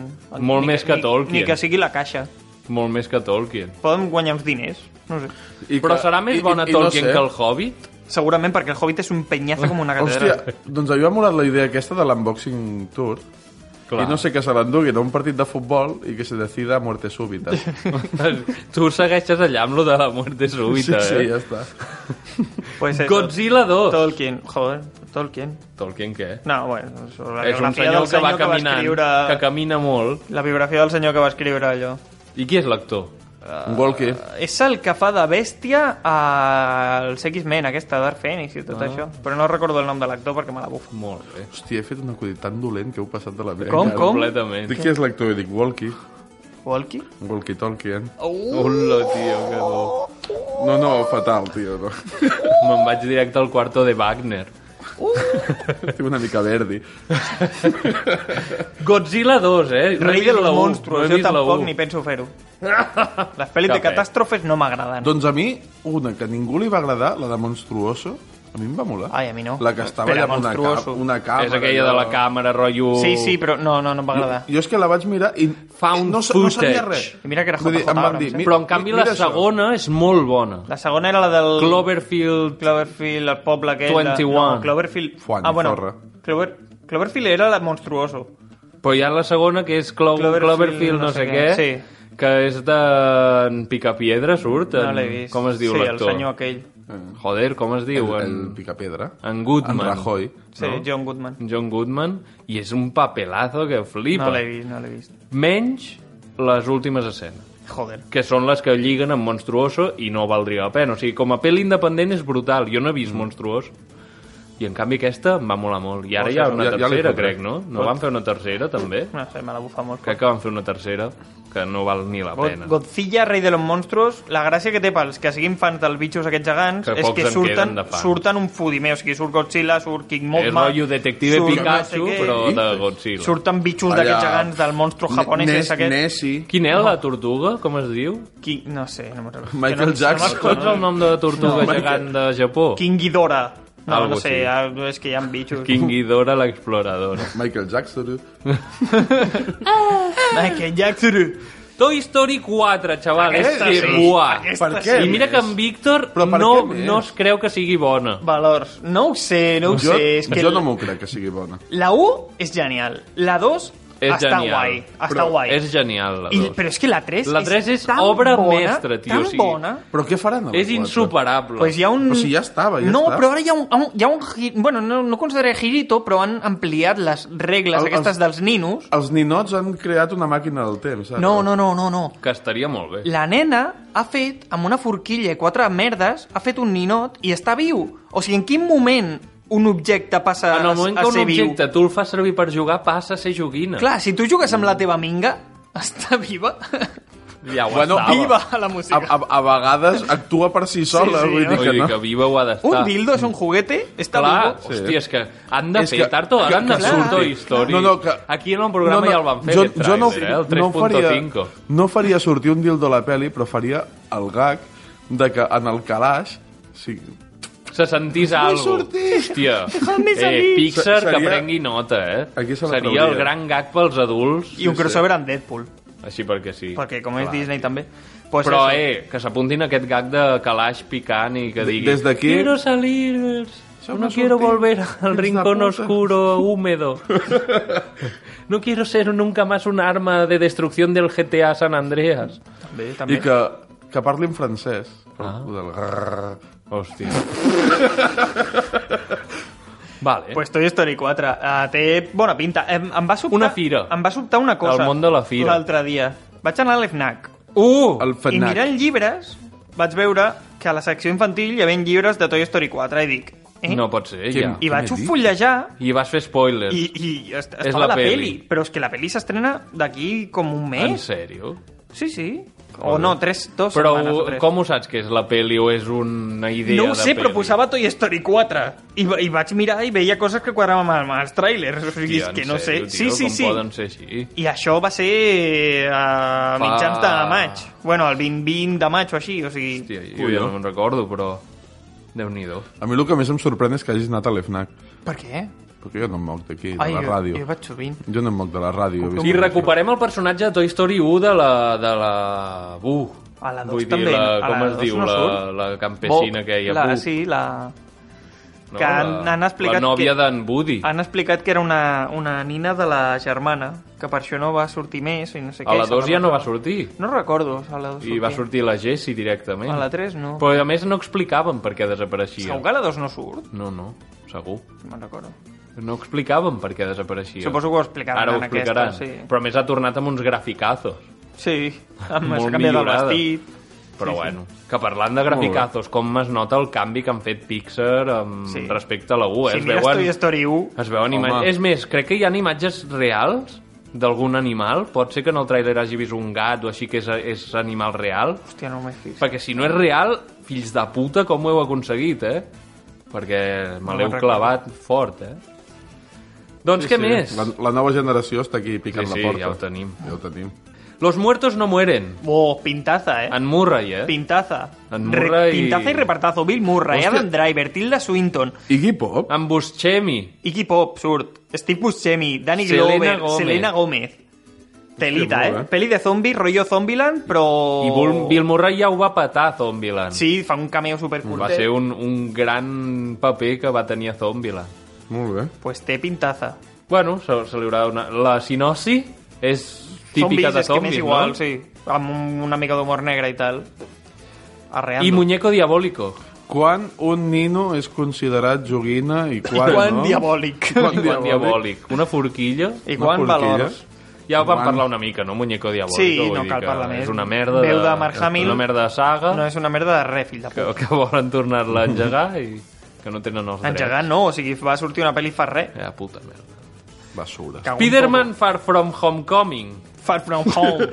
Molt més que ni, Tolkien. Ni que sigui la caixa. Molt més que Tolkien. Poden guanyar uns diners, no sé. I Però que- serà més i- bona i- i no Tolkien sé. que el Hobbit? Segurament, perquè el Hobbit és un penyazo com una catedral. Hòstia, doncs a mi m'ha molat la idea aquesta de l'unboxing tour. Clar. I no sé que se l'enduguin a un partit de futbol i que se decida a muerte súbita. tu segueixes allà amb lo de la muerte súbita, sí, sí, eh? ja està. Pues eso. Godzilla 2. Tolkien, joder, Tolkien. Tolkien què? No, bueno, sobre la és un biografia senyor del que va senyor que va caminant, escriure... que camina molt. La biografia del senyor que va escriure allò. I qui és l'actor? Ah. Un Golke. És el que fa de bèstia als X-Men, aquesta, Dark Phoenix i tot Ah. això. Però no recordo el nom de l'actor perquè me la bufo. Molt bé. Hòstia, he fet un acudit tan dolent que heu passat de la meva. Com, com? Completament. Dic qui és l'actor, i dic Walkie. Walkie? Walkie Tolkien. Uh. Hola, tio, que bo. No, no, fatal, tio. No. Me'n vaig directe al quarto de Wagner. Estic una mica verdi. Godzilla 2, eh? No he Rei vist dels la u, monstruos, no he jo vist la tampoc u. ni penso fer-ho. Les pel·lis de Cap, eh? catàstrofes no m'agraden. Doncs a mi, una que a ningú li va agradar, la de Monstruoso, a mi em va molar. Ai, a mi no. La que estava Espera, allà amb una, Monstruoso. cam una càmera. És aquella de la càmera, rotllo... Sí, sí, però Ah, no, no, no em va agradar. Jo és que la vaig mirar i Found no, sa- no footage. sabia res. I mira que era Vull dir, JJ em van Abrams, dir, eh? mi- Però, en canvi, mira la això. segona és molt bona. La segona era la del... Cloverfield... Cloverfield, el poble aquell... de- 21. No, Cloverfield... Fuan, ah, bueno, zorra. Clover... Cloverfield era la monstruoso. Però hi ha la segona, que és Clo Cloverfield, no, sé què, sí. que és de... En Picapiedra surt? En... No l'he vist. Com es diu Sí, el l'actor? senyor aquell. Joder, com es diu? El- en... el Picapiedra. En Goodman. En Rajoy. Sí, John Goodman. John Goodman. I és un papelazo que flipa. No l'he vist, no l'he vist. Menys les últimes escenes. Joder. que són les que lliguen amb Monstruoso i no valdria la pena. O sigui, com a pel·li independent és brutal. Jo no he vist mm. Monstruós. I en canvi aquesta em va molar molt. I ara Hòstia, hi ha una ja- ja li tercera, fotré. crec, no? No Pot. van fer una tercera, també? No sé, me la bufa molt. Crec Eh? que van fer una tercera que no val ni la God- pena. Godzilla, rei de los monstruos, la gràcia que té pels que siguin fans dels bitxos aquests gegants Que és pocs que en surten, queden de fans. surten un fotimer, o sigui, surt Godzilla, surt King Mothman... És rotllo Detective surt no sé Pikachu, què. però de Godzilla. Surten bitxos d'aquests gegants del monstru japonès és aquest. Quin és la tortuga? Com es diu? Qui... No sé, no me'n recordo. Michael no, Jackson. me'n recordo Saps el nom de la tortuga gegant de Japó? King Ghidorah. No, Algo no sé, així. ah, és que hi ha bitxos. King Ghidorah l'exploradora. Michael Jackson. Michael Jackson. Toy Story 4, xaval. Aquesta és que sí, buah. aquesta Per què sí. I mira que en Víctor per no, què més? no es creu que sigui bona. Valors. No ho sé, no ho jo, sé. És que jo no m'ho crec que sigui bona. La 1 és genial. La 2 És està genial. guai. Està Però guai. És genial, la I, 2. però és que la 3 La 3 és tan obra bona, mestra, tio, o Tan sigui, bona. Però què faran a la És quatre? insuperable. Pues hi ha un... Però si ja estava, ja no, està. però ara hi ha un... un- Hi ha un gi- bueno, no, no consideraré girito, però han ampliat les regles El- el, aquestes els- dels ninos. Els ninots han creat una màquina del temps. Ara. No, no, no, no, no. Que estaria molt bé. La nena ha fet, amb una forquilla i quatre merdes, ha fet un ninot i està viu. O sigui, en quin moment un objecte passa En el moment a, que a un ser viu? objecte tu el fas servir per jugar, passa a ser joguina. Clar, si tu jugues amb la teva minga, està viva. Ja ho Bueno, estava. Viva la música. A, a, a vegades actua per si sola. Sí, sí, vull dir Vull que dir no. que viva ho ha d'estar. Un dildo és un juguete? Està Clar, vivo? sí. hòstia, és que han de és fer, que, tard o d'hora han de fer un Toy Story. No, no, que, Aquí en el programa ja el van fer, aquest tràiler, eh? El 3.5. faria, no faria sortir un dildo a la peli, però faria el gag de que en el calaix... Sí, se sentís Vull algo. sortir. Hòstia. Dejadme Eh, salir. Pixar, Se- seria- que prengui nota, eh? Aquí se la Seria trauria. el gran gag pels adults. I un crossover amb Deadpool. Així perquè sí. Perquè com és Clar. Disney també. Pues Pues Però, això. eh, que s'apuntin a aquest gag de calaix picant i que digui... des d'aquí- Quiero salir... No quiero volver al rincón oscuro, húmedo. No quiero ser nunca más un arma de destrucción del GTA San Andreas. També, I que, que parlin francès. Ah. Del... Hòstia. Vale. Pues Toy Story 4 uh, té bona pinta. Em, em va sobtar, una fira. Em va sobtar una cosa. El món de la fira. L'altre dia. Vaig anar a l'FNAC. Uh! El I mirant llibres vaig veure que a la secció infantil hi havia llibres de Toy Story 4 i dic... Eh? No pot ser, ja. I vaig fullejar I vas fer spoilers. i, i est És estava la la, peli. peli. Ah, Però és que la peli s'estrena d'aquí com un mes. En sèrio? Sí, sí. O no, tres, eh? dos Però setmanes o tres. com ho saps que és la peli o és una idea no ho de sé, peli? però posava Toy Story 4. I, va- i vaig mirar i veia coses que quadraven amb els trailers. O Hòstia, sigui, és en que no sèrio, sé. tio, sí, sí, com sí. poden ser Doncs així? I això va ser eh, a mitjans de maig. Bueno, el 20, 20 de maig o així, o sigui... Hòstia, Jo ja no me'n recordo, però... Déu-n'hi-do. A mi el que més em sorprèn és que hagis anat a l'EFNAC. Per què? Perquè jo no em moc d'aquí, de Ai, la jo- ràdio. jo vaig sovint. Jo no em moc de la ràdio. he vist I que- recuperem el personatge de Toy Story 1 de la... De la... Buh. A la dos Vull dir, també, La, a la com es dos diu? no la, surt. la campesina Bo, que hi ha. la, Buh. Sí, la... No, que han, la- han explicat La nòvia que, d'en Woody. Han explicat que era una, una nina de la germana, que per això no va sortir més i no sé A què. la se 2 ja no va... va sortir. No recordo, a la 2 I va sortir la Jessie directament. A la 3 no. Però a més no explicaven per què desapareixia. Segur que a la 2 no surt? No, no, segur. Me'n recordo. No explicaven per què desapareixia. Suposo que ho explicaran Ara ho en explicaran. aquesta, sí. Però a més ha tornat amb uns graficazos. Sí, amb Molt s'ha canviat el millorada. vestit. Però Sí, sí. bueno, que parlant de graficazos, com es nota el canvi que han fet Pixar amb Sí. respecte a la 1. eh? si es mires veuen, Toy Story 1... es veuen imatges... És més, crec que hi ha imatges reals d'algun animal. Pot ser que en el tràiler hagi vist un gat o així que és, és animal real. Hòstia, no m'he fixat. Perquè si no és real, fills de puta, com ho heu aconseguit, eh? Perquè me No l'heu me'n clavat fort, eh? Doncs què més? La, la nova generació està aquí picant Sí, sí, la porta. ja ho tenim. Ja ho tenim. Los muertos no mueren. Oh, pintaza, eh? En Murray, eh? Pintaza. En Murray... Pintaza i repartazo. Bill Murray, Hòstia. Adam Driver, Tilda Swinton... Iggy Pop? En Buscemi. Iggy Pop, surt. Steve Buscemi, Danny Selena Glover, Gomez. Selena Gómez. Telita, molt, eh? eh? Peli de zombi, rollo Zombieland, però... I Bull- Bill Murray ja ho va patar a Zombieland. Sí, fa un cameo supercurtet. Va ser un, un gran paper que va tenir a Zombieland. Molt bé. Pues té pintaza. Bueno, se, se li haurà una... La sinosi és típica de Zombis, és que zombis, m'és igual, no? sí. Amb un, una mica d'humor negre i tal. Arreando. I Muñeco Diabólico. Quan un nino és considerat joguina i quan, quan no? diabòlic. Quan Quan diabòlic. diabòlic. Una forquilla. I quan Una forquilla. valors. Ja ho vam Quan- parlar una mica, no? Muñeco Diabólico. Sí, vull no dir cal que parlar més. És una merda de... Veu de Mark Hamill. Una merda de saga No és una merda de res, fill de que, puta. que volen tornar-la a engegar i que no tenen els drets. Engegar no, o sigui, va sortir una pel·li fa res. Ja, puta merda. Basura. Spider-Man Far From Homecoming. Far From Home.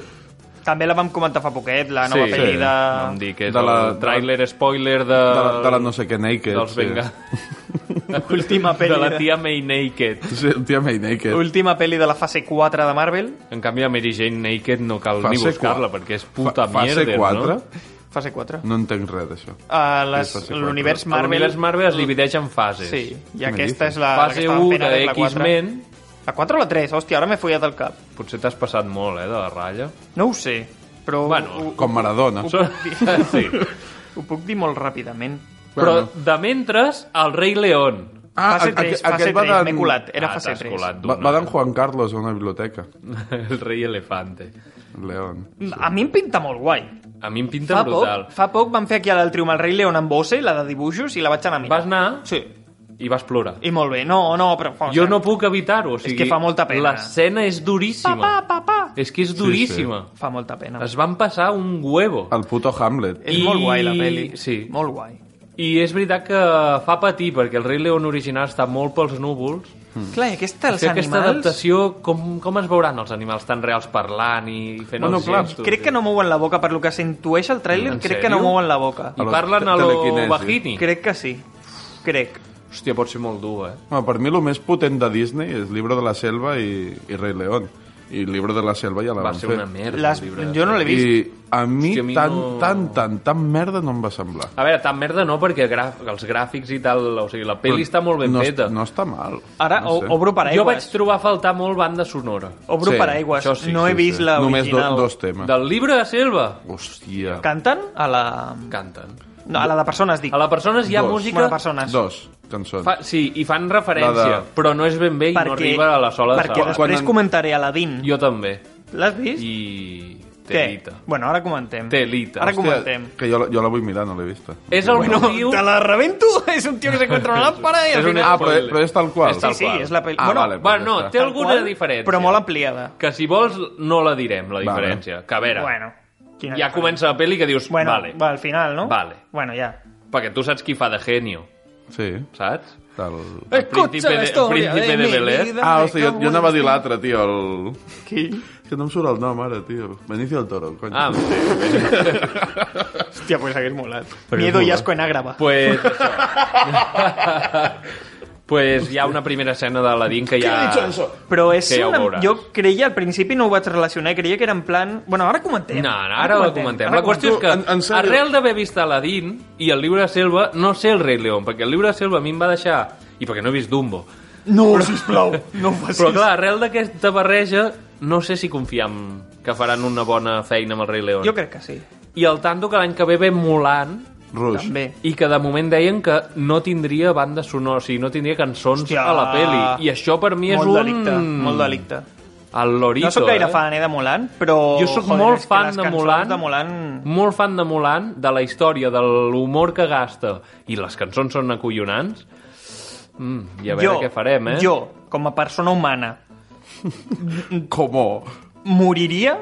També la vam comentar fa poquet, la nova pel·li de... No em digui que és De de la, la- el trailer spoiler de... De la, de la no sé què naked. Dels Venga. Última pel·li De la de- tia May Naked. Sí, tia May Naked. Última pel·li de la fase 4 de Marvel. En canvi, a Mary Jane Naked no cal Fase ni buscar-la, quatre. perquè és puta Fa- fase mierda, quatre? no? Fase 4. No entenc res d'això. Uh, les- Sí, fase quatre. L'univers Marvel... L'univers Marvel es divideix en fases. Sí, i Què aquesta dices? és la, la que Fase estava 1 fent ara, de és la 4. X-Men. La 4 o la 3? Hòstia, ara m'he follat el cap. Potser t'has passat molt, eh, de la ratlla. No ho sé, però... Bueno, Com Maradona. Ho puc dir, Sí. ho puc dir molt ràpidament. Però, de mentres, el rei León. Ah, fase aqu- 3, aqu- fase aquest va 3, m'he d'en- colat, era Ah, fase t'has 3. colat Va, d'una. va d'en Juan Carlos a una biblioteca. El rei elefante. León. A mi em pinta molt guai. A mi em pinta Fa brutal. poc, fa poc van fer aquí a l'altriu amb el rei León amb Bose, la de dibuixos, i la vaig anar a mirar. Vas anar? Sí. I vas plorar. I molt bé. No, no, però... O Jo no puc evitar-ho, o sigui, sigui... és que fa molta pena. L'escena és duríssima. Papà, papà! És que és duríssima. Sí, sí. Fa molta pena. Es van passar un huevo. El puto Hamlet. Eh, És molt guai, la peli. Sí. Molt guai. I és veritat que fa patir, perquè el rei León original està molt pels núvols. Clar, i aquesta, els Fer Mm. aquesta animals... adaptació, com, com es veuran els animals tan reals parlant i fent els gestos? crec que no mouen la boca, per lo que s'intueix al tràiler, En crec sèrio? que no mouen la boca. I parlen a lo telequinesi. bajini. Crec que sí. Crec. Hòstia, pot ser molt dur, eh? Home, per mi el més potent de Disney és Libro de la Selva i, i Rei León. i Libro de la Selva ja la Va van ser fer. una merda, Les- Libro de la jo no l'he Selva. vist. I a mi, Hòstia, a mi tan, no- tan, tan, tan merda no em va semblar. A veure, tan merda no, perquè gra- els gràfics i tal... O sigui, la pel·li està molt ben no, feta. No està mal. Ara, no sé. obro paraigües. Jo vaig trobar a faltar molt banda sonora. Obro Sí. paraigües. No he vist la Només original. do- dos temes. Del llibre de Selva. Hòstia. Canten a la... Canten. No, a la de persones, dic. A la persones hi ha Dos. música... Bueno, persones. Dos cançons. Fa, sí, i fan referència, La de- però no és ben bé i no Perquè- arriba a la sola de perquè després comentaré a la DIN. Jo també. L'has vist? I... Què? Telita. Bueno, ara comentem. Telita. Ara comentem. Que jo, la- jo la vull mirar, no l'he vista. És el Bueno, motiu... te la rebento? És un tio que s'encontra una làmpara i al final... Ah, però, però és tal qual. És tal sí, qual. sí, és la pel·li. Ah, bueno, vale, bueno, no, té Tal alguna qual, diferència. Però molt ampliada. Que si vols no la direm, la Vale. diferència. Que a veure, Bueno, ja comença la pel·li que dius, bueno vale, va, al final, no? vale. Bueno, ja. Perquè tu saps qui fa de genio. Sí. Saps? Tal... Eh, El príncipe de, el príncipe de Bel-Air. Ah, hòstia, jo, jo anava a dir l'altre, tio, el... Qui? Que no em surt el nom ara, tio. Benicio del Toro, cony. Ah, Hòstia, pues hagués molat. Però Miedo és i molat. asco en àgrava. Pues... pues hi ha una primera escena de l'Aladín que ja... Però és que ja ho una... veuràs. Jo creia, al principi no ho vaig relacionar, creia que era en plan... Bueno, ara Ah, comentem. No, no, ara la comentem. La qüestió és que, en, en sèrio. arrel d'haver vist Aladdin i el llibre de Selva, no sé el rei León, perquè el llibre de Selva a mi em va deixar... I perquè no he vist Dumbo. No, sisplau, no ho facis. Però clar, arrel d'aquesta barreja, no sé si confiam que faran una bona feina amb el rei León. Jo crec que sí. I el tanto que l'any que ve ve Mulan, Rush. També. i que de moment deien que no tindria banda sonora, o sigui, no tindria cançons Hòstia. a la peli. I això per mi és molt un... Delicte, molt delicte. El lorito, no sóc gaire eh? fan eh, de Mulan, però... Jo sóc joder, molt és que fan les de cançons Mulan. de Mulan... Molt fan de Mulan, de la història, de l'humor que gasta, i les cançons són acollonants. Mm, I a veure jo, què farem, eh? Jo, com a persona humana, Com? moriria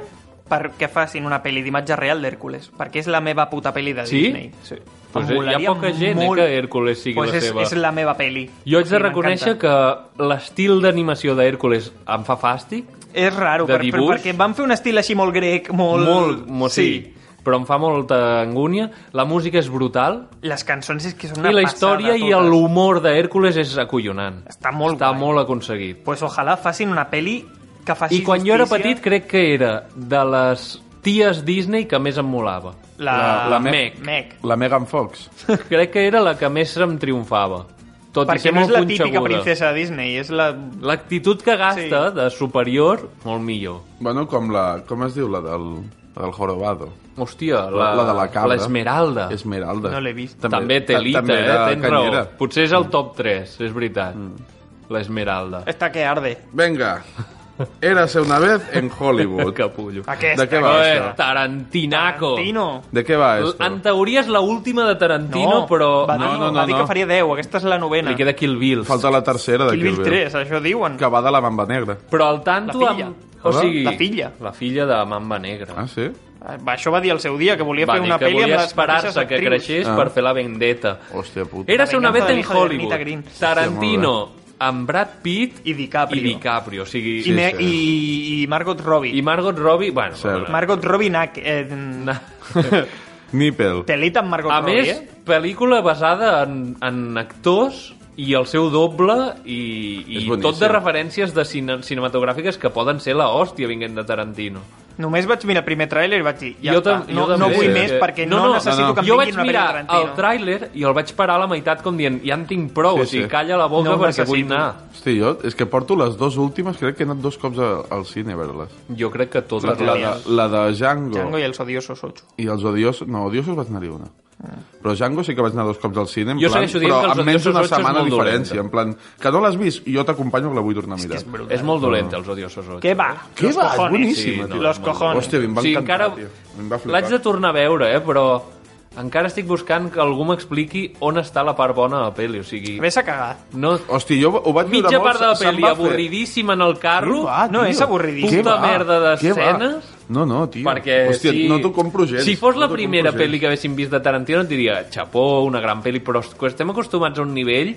perquè facin una pel·li d'imatge real d'Hèrcules, perquè és la meva puta pel·li de Sí? Disney. Sí. Pues Em hi ha molaria poca gent eh, molt- que Hércules sigui pues la és, seva. és la meva pel·li. Jo haig de Sí, reconèixer m'encanta. que l'estil d'animació d'Hèrcules em fa fàstic. És raro, de per, per, dibuix. perquè van fer un estil així molt grec, molt... Molt, molt sí. sí. Però em fa molta angúnia. La música és brutal. Les cançons és que són una I la passada, història i totes. l'humor d'Hèrcules és acollonant. Està molt Està molt aconseguit. Pues ojalà facin una pel·li que faci I quan jo era justícia. petit crec que era de les ties Disney que més em molava. La- la Meg. Meg. La Megan Fox. Crec que era la que més em triomfava. Tot i Perquè ser no és molt la típica punxeguda. Ah, princesa de Disney, és la... L'actitud que gasta sí. de superior, molt millor. Bueno, com la... Com es diu la del... La del Jorobado. Hòstia, la- la de la cabra. l'Esmeralda. Esmeralda. No l'he vist. També, també telita, també eh? era Tens canyera. raó. Potser és el top 3, és veritat. Mm. L'esmeralda. Esta que arde. Venga. Érase una vez en Hollywood. Capullo. Aquesta, de què va Eh, això? Tarantinaco. Tarantino. De què va esto? En teoria és l'última de Tarantino, No, però... va dir- No, no, no, va dir que no. faria 10, aquesta és la novena. Li queda Kill Bill. Falta la tercera de Kill Bill 3, això diuen. Que va de la Mamba Negra. Però el tanto... La filla. Amb... O Ah, sigui, la filla. La filla de Mamba Negra. Ah, sí? Va, això va dir el seu dia, que volia Va fer dir una que pel·li amb volia les esperar-se mateixes que actrius. creixés Ah. per fer la vendetta. Hòstia puta. Era ser una venganza vez en del hijo de Bernita Hollywood. Green. Tarantino amb Brad Pitt i DiCaprio. I DiCaprio, o sigui... I, me, i, i Margot Robbie. I Margot Robbie, bueno... Cert. Margot Robbie nac, eh, na... Nipple. Telita amb Margot A Robbie, més, eh? pel·lícula basada en, en actors i el seu doble i, i tot de referències de cine, cinematogràfiques que poden ser la hòstia vinguent de Tarantino. Només vaig mirar el primer tràiler i vaig dir, ja està, tam- no, no també. eh, vull més perquè no, necessito que em Jo vinguin vaig una pel·li mirar de el Tarantino. tràiler i el vaig parar a la meitat com dient, ja en tinc prou, Sí, o sigui, sí. calla la boca No ho perquè vull necessito. anar. Hosti, jo és que porto les dues últimes, crec que he anat dos cops a, al cine a veure-les. Jo crec que totes La, la, de, les- la de Django, Django i els odiosos 8. i els odiosos... No, odiosos vaig anar-hi una. Però Django sí que vaig anar dos cops al cine, en Jo plan, segueixo dient però que Els amb menys odiosos d'una ocho és setmana molt diferència. En plan, que no l'has vist, jo t'acompanyo que la vull tornar a mirar. És molt dolenta, els odiosos. Què va? Què va? És Sí, boníssima, tio. no, Los cojones. Hòstia, a mi em va Sí, encantar, encara- tio. A mi em va flipar. L'haig de tornar a veure, eh, però encara estic buscant que algú m'expliqui on està la part bona de la pel·li, o sigui... Ves a cagar. No, Hosti, jo ho vaig mitja veure molt, part de la se'm pel·li va fer- avorridíssima en el carro. no, és avorridíssim. Puta merda d'escenes. No, no, tio. Perquè Hòstia, si... no t'ho compro gens. Si fos no la t'ho compro primera gens. pel·li que haguéssim vist de Tarantino et diria, xapó, una gran pel·li, però est- estem acostumats a un nivell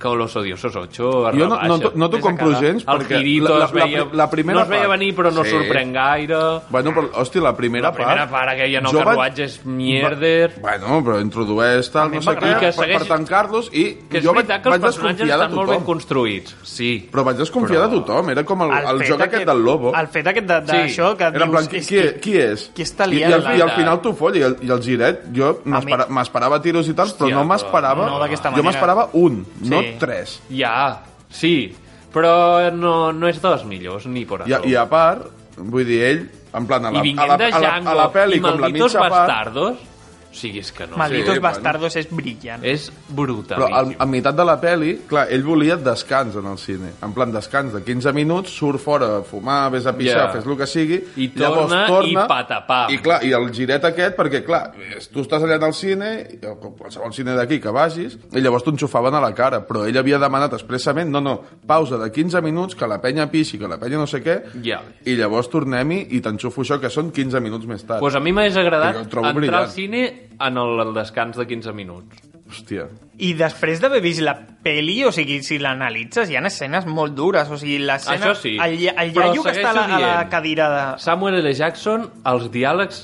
que Los Odiosos 8 es Jo no- no t'ho- no t'ho Més a compro cada- gens, El perquè Kirito la- la- es veia... la pri- la primera no es veia part. venir, però no Sí. sorprèn gaire. Bueno, però, hòstia, la primera La part... primera part, aquella en el jo vaig- carruatge és mierder. Va, bueno, però introdueix tal, no sé què, I que per, segueix- per tancar-los, i Que és jo vaig, veritat que els vaig personatges desconfiar de estan tothom. molt ben construïts. Sí. Però vaig desconfiar Però- de tothom, era com el, el, fet joc aquest del Lobo. El fet aquest de- d'això que Era en plan, qui, dius... qui, qui és? qui està I, i, liant al, I al la- final t'ho foll, i el, i el giret, jo m'espera- m'esperava tiros i tal, però no m'esperava... no d'aquesta jo manera. m'esperava un, no Sí. tres. Ja, sí. Però no, no és dels millors, ni por I, a- I a part, vull dir, ell, en plan, a la, I a vinguent la, de a la, Django a la peli, i com la Malditos mitja part... Bastardos... O sigui, és que no. Malditos Sí, Bastardos és brillant. És brutal. Però a, a meitat de la peli, clar, ell volia descans en el cine. En plan, descans de 15 minuts, surt fora a fumar, vés a pixar, Ja. fes el que sigui. I llavors torna, torna i patapam. I clar, i el giret aquest, perquè clar, és- tu estàs allà al cine, o com qualsevol cine d'aquí que vagis, i llavors t'enxufaven a la cara, però ell havia demanat expressament, no, no, pausa de 15 minuts, que la penya pixi, que la penya no sé què, Ja. i llavors tornem-hi i t'enxufo això, que són 15 minuts més tard. Pues a mi m'hagués agradat Que jo el trobo entrar brillant. al cine en el, el descans de 15 minuts. Hòstia. I després d'haver vist la peli, o sigui, si l'analitzes, hi ha escenes molt dures. O sigui, l'escena... Això sí. El, lla- el Però iaio que està a la, a la segueixo cadira de... Samuel L. Jackson, els diàlegs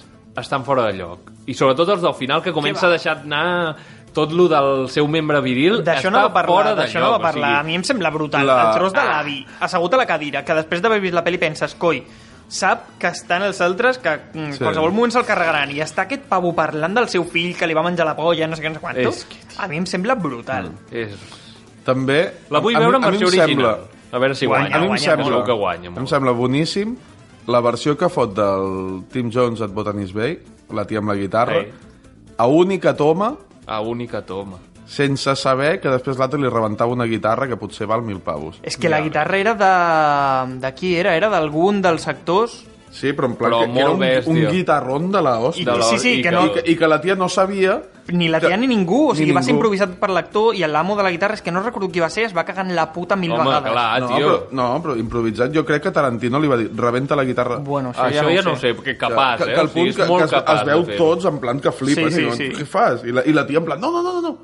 estan fora de lloc. I sobretot els del final, que comença a deixar anar tot lo del seu membre viril. D'això està no va fora parlar, de d'això lloc, no va parlar. O A sigui, mi em sembla brutal. La- El tros de Ah. l'avi, assegut a la cadira, que després d'haver vist la peli penses, coi, sap que estan els altres que mm, Sí. qualsevol moment se'l carregaran i està aquest pavo parlant del seu fill que li va menjar la polla, no sé què, no sé quanto. És Mm. A mi em sembla brutal. és... També... La vull a mi- veure en a mi versió em original. A veure si guanya. a mi em Guanya, sembla, segur que guanya, molt. Em sembla boníssim la versió que fot del Tim Jones at Botanist Bay, la tia amb la guitarra, Sí. a única toma, A única toma. sense saber que després l'altre li rebentava una guitarra que potser val mil pavos. És que la guitarra era de... de qui era? Era d'algun dels actors? Sí, però en plan Però que, que era molt un, bèstia. un guitarrón de la hòstia. I- sí, sí, I que no- I que, I que la tia no sabia... Ni la tia ni ningú, o sigui, va ser ningú. improvisat per l'actor i l'amo de la guitarra, és que no recordo qui va ser, es va cagar en la puta mil vegades. Ah, no, Però, no, però improvisat, jo crec que Tarantino li va dir rebenta la guitarra. Bueno, això Ah, ja Això no ho ja sé. no ho sé, perquè capaç, eh? Que, O el sigui, punt és que, molt que es, capaç es veu de fer-ho. tots en plan que Sí, flipen. sí, i diuen, sí. Què fas? I la, I la tia en plan, no, no, no, no, no.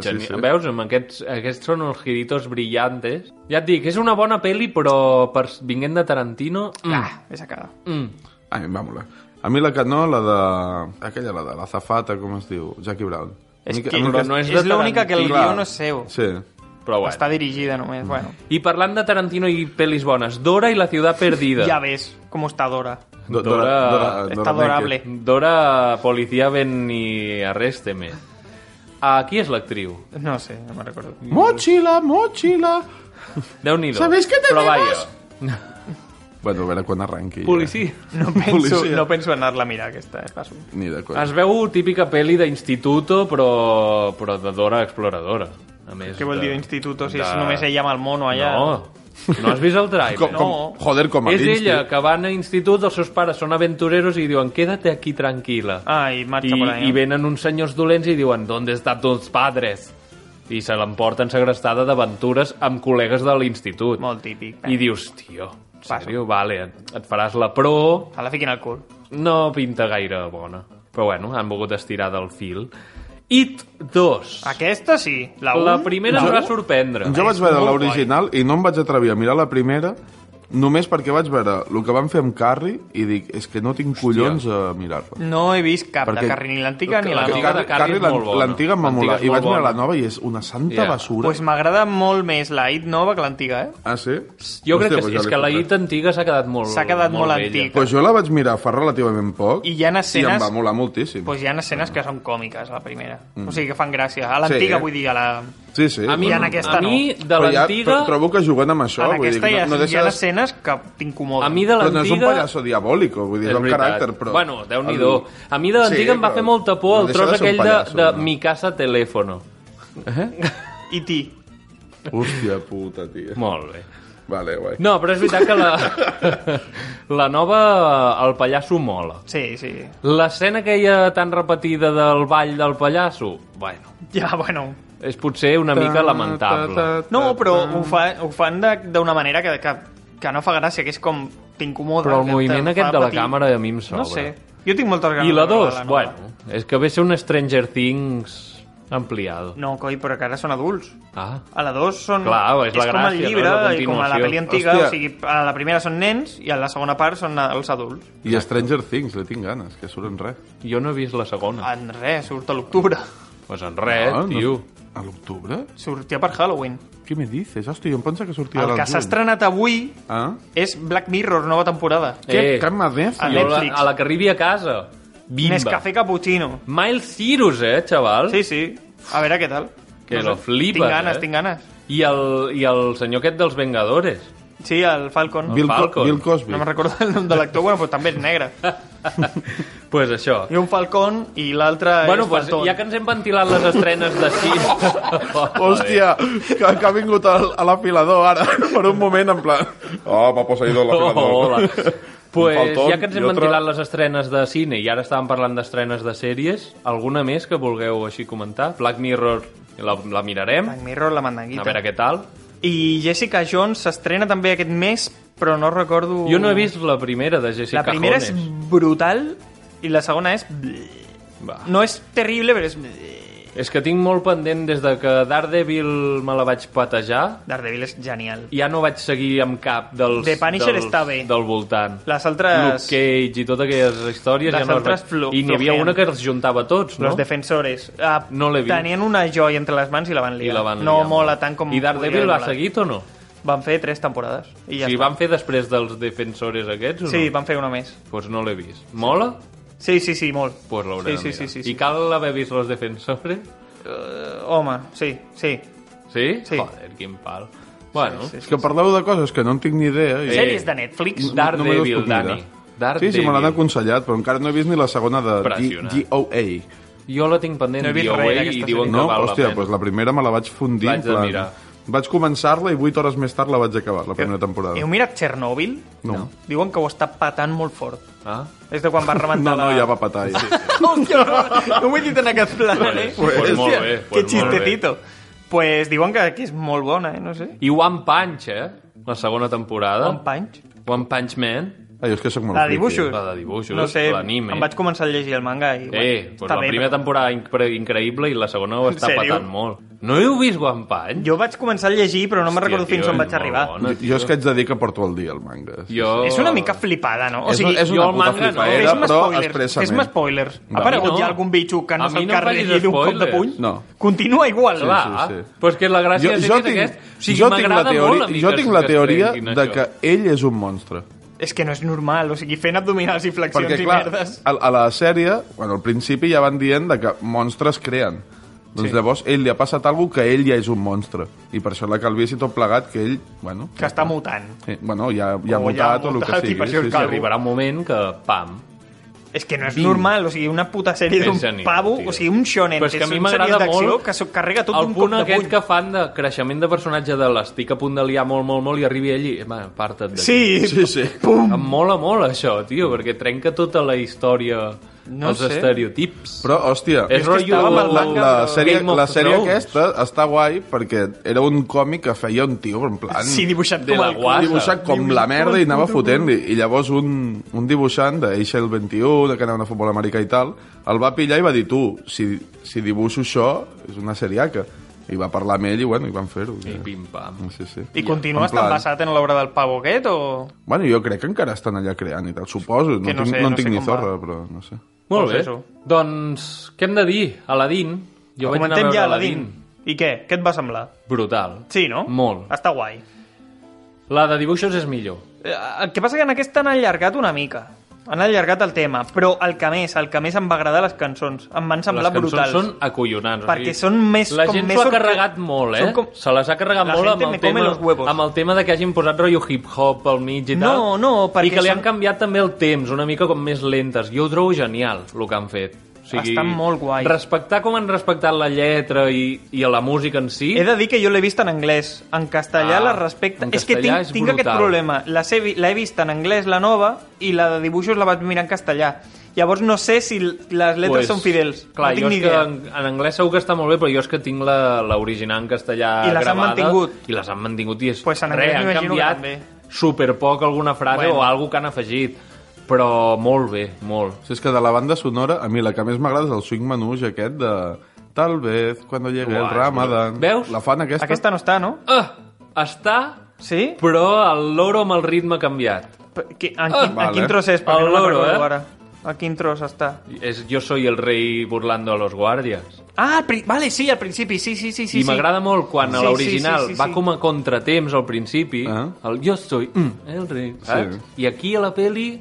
Geni- Veus, amb aquests, aquests són els giritos brillantes. Ja et dic, és una bona peli, però per vinguent de Tarantino... Mm. Ah, és a cagar. Mm. A mi em va molar. A mi la que no, la de... Aquella, la de la zafata, com es diu? Jackie Brown. És A mi que- a mi però que- no és de És l'única que el Tarantino. guió no és seu. Sí. Però bueno. Està dirigida només, bueno. I parlant de Tarantino i pelis bones, Dora i la ciutat perdida. Ja ves com està Dora. Dora, Ah, Dora- Dora Está adorable. Naked. Dora, policía, ven y arrésteme. Ah, qui és l'actriu? No sé, no me'n recordo. Mochila, mochila. Déu-n'hi-do. ¿Sabéis que te Però llevas? vaja. Bueno, a veure quan arrenqui. eh, Policia. No penso, Policia. no penso anar-la a mirar, aquesta, eh, passo. Ni de coi. Es veu típica peli d'instituto, però, però de Dora exploradora. A més, Què vol de- dir instituto si de- és només ella amb el mono allà? No. No has vist el trailer? Com- com- joder, com a És l'insti. ella, que van a institut, els seus pares són aventureros i diuen, quédate aquí tranquil·la. Ah, i marxa I, per allà. I venen uns senyors dolents i diuen, ¿dónde están tus padres? I se l'emporten segrestada d'aventures amb col·legues de l'institut. Molt típic. I dius, tio, en sèrio? Vale, et, et faràs la pro... A la fiquin al cul. No pinta gaire bona. Però bueno, han volgut estirar del fil. It 2. Aquesta sí. La, la un? primera Jo- em va sorprendre. Jo vaig veure l'original i no em vaig atrevir a mirar la primera només perquè vaig veure el que van fer amb Carrie i dic, és que no tinc collons a mirar-la. No he vist cap Perquè- de Carri, ni l'antiga ni la Carrie- nova. Carrie, l'an- l'antiga em va molar i vaig mirar la nova i és una santa basura. Pues m'agrada molt més la IT nova que l'antiga, eh? Ah, sí? Jo crec que Hòstia, pues sí, ja és l'he que la comprat. IT antiga s'ha quedat molt S'ha quedat molt vella. antiga. Pues jo la vaig mirar fa relativament poc I hi ha escenes- i em va molar moltíssim. Pues hi ha escenes que són còmiques, la primera. Mm. O sigui, que fan gràcia. A l'antiga, Sí. vull dir, a la... Sí, sí. A mi- bueno. en aquesta A no. mi, de Però ja l'antiga- tro- trobo que juguen amb això, en vull dir, aquesta que hi ha, no, no hi deixa ha de ser... escenes que t'incomoden. A mi de Però no és un l'antiga- pallasso diabòlico, vull dir, és, És un veritat. caràcter, però... Bueno, Déu-n'hi-do. A mi de l'antiga Sí, em va però fer molta por no el deixa tros de ser un aquell de, pallasso, de no? mi casa teléfono. I ti. Hòstia puta, tia. Molt bé. Vale, guai. No, però és veritat que la, la nova, el pallasso mola. Sí, sí. L'escena aquella tan repetida del ball del pallasso, bueno, Ja, bueno. és potser una mica lamentable. No, però ho, fa, ho fan de- d'una manera que, que, que no fa gràcia, que és com t'incomoda. Però el que moviment te'n fa aquest de la patir. càmera a mi em sobra. No sé. Jo tinc moltes ganes I la de 2, veure nova. bueno, és que ve a ser un Stranger Things ampliado. No, coi, però que ara són adults. Ah. A la 2 són... Clar, és la com el gràcia, llibre, no? És la i com a la continuació. pel·li antiga, Hòstia. o sigui, a la primera són nens i a la segona part són a- els adults. I Stranger Things, li tinc ganes, que surt en res. Jo no he vist la segona. En res, surt a l'octubre. Pues en res, Ah, No, no- Eh, tio. A l'octubre? Sortia per Halloween. Què me dices? Hòstia, jo em penso que sortia El al que s'ha juny. estrenat avui Ah? és Black Mirror, nova temporada. Eh. Què? Cap madef? A Jo la- Netflix. A la que arribi a casa. Bimba. Nescafé Cappuccino. Miles Cyrus, eh, xaval? Sí, sí. A veure què tal. Que sé. lo flipes, Tinc ganes, eh? tinc ganes. I el, I el senyor aquest dels Vengadores. Sí, el Falcon. Bill Co- Falcon. Bill Cosby. No me'n recordo el nom de l'actor, bueno, però també és negre. pues això. I un Falcon i l'altre bueno, és pues, Falcon. ja que ens hem ventilat les estrenes de sis... Hòstia, que, que ha vingut al, a l'afilador ara, per un moment, en plan... Oh, m'ha posat idol l'afilador. Oh, hola. Pues, Un faltón ja que ens i hem altre. ventilat les estrenes de cine i ara estàvem parlant d'estrenes de sèries, alguna més que vulgueu així comentar? Black Mirror la, la mirarem, Black Mirror, la mandanguita. a veure què tal. I Jessica Jones s'estrena també aquest mes, però no recordo... Jo no he vist la primera de Jessica La primera és Jones. brutal i la segona és... Va. No és terrible, però és... És que tinc molt pendent des de que Daredevil me la vaig patejar, Daredevil és genial. ja no vaig seguir amb cap dels... The Punisher dels, està bé. Del voltant. Les altres... Luke Cage i totes aquelles històries Les ja no les altres vaig... flo- I n'hi havia flojeen. una que els juntava tots, no? Los defensores. Ah, No l'he vist. Tenien una joia entre les mans i la van liar. I la van no liar. mola tant com... I Daredevil podria l'ha molar. seguit o no? Van fer tres temporades. I ja si està. van fer després dels defensores aquests o Sí, no? van fer una més. Doncs pues no l'he vist. Mola? Sí, sí, sí, molt. Pues l'hauré Sí, de sí, mirar. sí, sí, sí. I cal haver vist los defensores? Uh, home, sí, sí. Sí? Sí. Joder, quin pal. Bueno, És que parleu de coses que no en tinc ni idea. Eh, Sèries de Netflix? No- no me les Daredevil, puc mirar. Dani. Sí, sí, me l'han Daredevil. aconsellat, però encara no he vist ni la segona de D- Impressionant. DOA. Jo la tinc pendent No he vist DOA res i d'aquesta diuen No, que val hòstia, la doncs pena. la primera me la vaig fundir. Vaig en de plan- mirar. Vaig començar-la i 8 hores més tard la vaig acabar, la primera temporada. Heu mirat Chernobyl? No. No. Diuen que ho està patant molt fort. Ah? És de quan va rebentar No, no, la... ja va patar. Ja. Hòstia, no, no ho he dit en aquest plan, eh? Pues, pues molt bé, pues que xistetito. Pues diuen que, que és molt bona, eh? No sé. I One Punch, eh? La segona temporada. One Punch? One Punch Man. Ah, jo és que sóc molt La de dibuixos? La de dibuixos, No sé, l'anime. em vaig començar a llegir el manga i... Eh, pues la bé, primera però- temporada incre increïble i la segona ho En està sèrio? patant molt. No heu vist One Punch? Jo vaig començar a llegir, però no me'n Hòstia, recordo tio, fins on és vaig molt arribar. bona, Jo és que haig de dir que porto el dia, el manga. Jo... És una mica flipada, no? O És sigui, una- és una jo el puta manga no. flipaera, Fes-me però spoilers. expressament. Fes-me spoilers. Va. Ha A aparegut mi no. ja algun bitxo que A no mi se'l no em carregui facis d'un cop de spoilers. puny? No. Continua igual. Clar, sí, sí. però és que la gràcia és, jo, que és tinc, aquest. O sigui, jo tinc la m'agrada molt teoria, a mi jo que tinc es- la que es teoria trenquin de això. que ell és un monstre. És que no és normal, o sigui, fent abdominals i flexions Perquè, i clar, merdes. a, a la sèrie, bueno, al principi ja van dient de que monstres creen. Doncs Sí. sí. llavors ell li ha passat alguna que ell ja és un monstre. I per això la calvície i tot plegat, que ell, bueno... Que està mutant. Sí, bueno, ja, ja ha O ja ha mutat o el que mutat i sigui. per això sí, és sí. calvo. Arribarà un moment que, pam... És que no és Bing. normal, o sigui, una puta sèrie d'un Pensa-n'hi, pavo, tio. o sigui, un shonen, Però és que, que a mi són sèries m'agrada d'acció molt que s'ho carrega tot El d'un punt cop de aquest puny. que fan de creixement de personatge de l'estic a punt de liar molt, molt, molt i arribi allí, va, aparta't d'aquí. Sí. Sí, sí. Pum. Em mola molt això, tio, perquè trenca tota la història, Mm. No els sé. estereotips. Però, hòstia, És rotllo- la, la, Game la, of sèrie, la Thrones. sèrie aquesta està guai perquè era un còmic que feia un tio, en plan... Sí, dibuixat De com la el... guasa. dibuixat com la merda i anava fotent-li. I llavors un, un dibuixant d'Eixel 21, de que anava a futbol americà i tal, el va pillar i va dir, tu, si, si dibuixo això, és una seriaca. I va parlar amb ell i, bueno, i van fer-ho. I pim-pam. Sí, sí. I continua En plan- estant basat en l'obra del pavo aquest, o...? Bueno, jo crec que encara estan allà creant i tal, suposo. No, Que no tinc, sé, no, en no sé tinc ni com va. zorra, però no sé. Molt Doncs bé. això. Doncs, què hem de dir? Aladín. Jo vaig anar a Comentem veure ja Aladín. Aladdin. I què? Què et va semblar? Brutal. Sí, no? Molt. Està guai. La de dibuixos és millor. Eh, El que passa que en aquest han allargat una mica. Han allargat el tema, però el que més, el que més em va agradar les cançons. Em van semblar les cançons brutals. són acollonants. Perquè són més- La com gent més s'ho ha sorpre- carregat molt, eh? són com- Se les ha carregat La molt gente amb el, me come tema, los huevos. amb el tema de que hagin posat rotllo hip-hop al mig i No, tal. no, I perquè que li han són- canviat també el temps, una mica com més lentes. Jo ho trobo genial, el que han fet. O Estan molt guai. Respectar com han respectat la lletra i, i la música en si... He de dir que jo l'he vist en anglès. En castellà Ah, la respecta. en És que tinc, castellà és tinc aquest brutal. problema. La sé- L'he vist en anglès, la nova, i la de dibuixos la vaig mirar en castellà. Llavors no sé si l- les lletres pues, són fidels. Clar, no tinc jo ni és que idea. en, en anglès segur que està molt bé, però jo és que tinc la- l'original en castellà I les han gravada. mantingut. I les han mantingut. I és, Pues en res, anglès han m'imagino que canviat també. super poc alguna frase Bueno. bueno. o alguna que han afegit. Però molt bé, molt. Si és que de la banda sonora, a mi la que més m'agrada és el swing manouge aquest de... Tal vez cuando llegue el Guai, Ramadán. Veus? La fan aquesta. Aquesta no està, no? Ah, està, sí? però el loro amb el ritme canviat. Qui, en, quin, en quin tros és? Perquè El no me'n loro, recordo eh? Ara. A quin tros està? És Yo soy el rei burlando a los guardias. Ah, al pri... vale, sí, al principi, sí, sí, sí. sí I m'agrada molt quan a Sí, l'original sí, sí, sí, va sí. Ah. com a contratemps al principi, el jo soy mm, el rei, saps? I aquí a la peli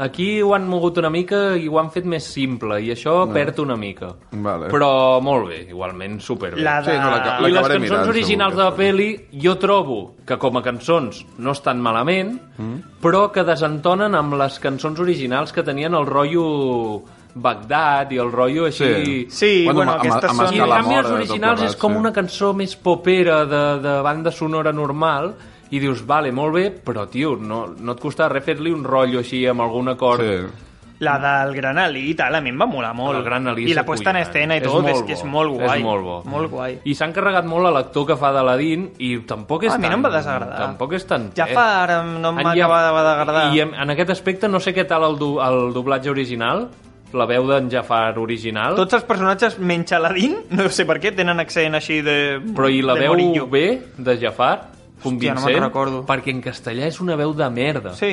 aquí ho han mogut una mica i ho han fet més simple, i això Ah. No. perd una mica. Vale. Però molt bé, igualment superbé. La de- Sí, no, l'aca- I les l'acabaré cançons Ah, mirant, segur originals de la peli jo trobo que com a cançons no estan malament, Mm. però que desentonen amb les cançons originals que tenien el rotllo Bagdad i el rotllo així... Sí. Sí, Bueno, bueno, amb- aquestes amb- amb són- I en canvi Escalamora, els tot originals plegat, és com sí. una cançó més popera de, de banda sonora normal i dius, vale, molt bé, però tio, no, no et costava res fer-li un rotllo així amb algun acord. Sí. La del Gran Ali i tal, a mi em va molar molt. El Gran Ali I la és puesta en acollonant. escena i És tot, molt és, que és bo, molt és guai. molt bo. Molt guai. I s'han carregat molt a l'actor que fa d'Aladín i tampoc és A mi no tan, em va desagradar. Tampoc és tan... Ja eh? fa ara, no En- m'acaba d'agradar. I en, en aquest aspecte no sé què tal el, du, el doblatge original, la veu d'en Jafar original, Tots els personatges, menys Aladdin, no sé per què, tenen accent així de... però i la de veu morillo. bé de Jafar, Hòstia, convincent, no me'n recordo. perquè en castellà és una veu de merda. Sí.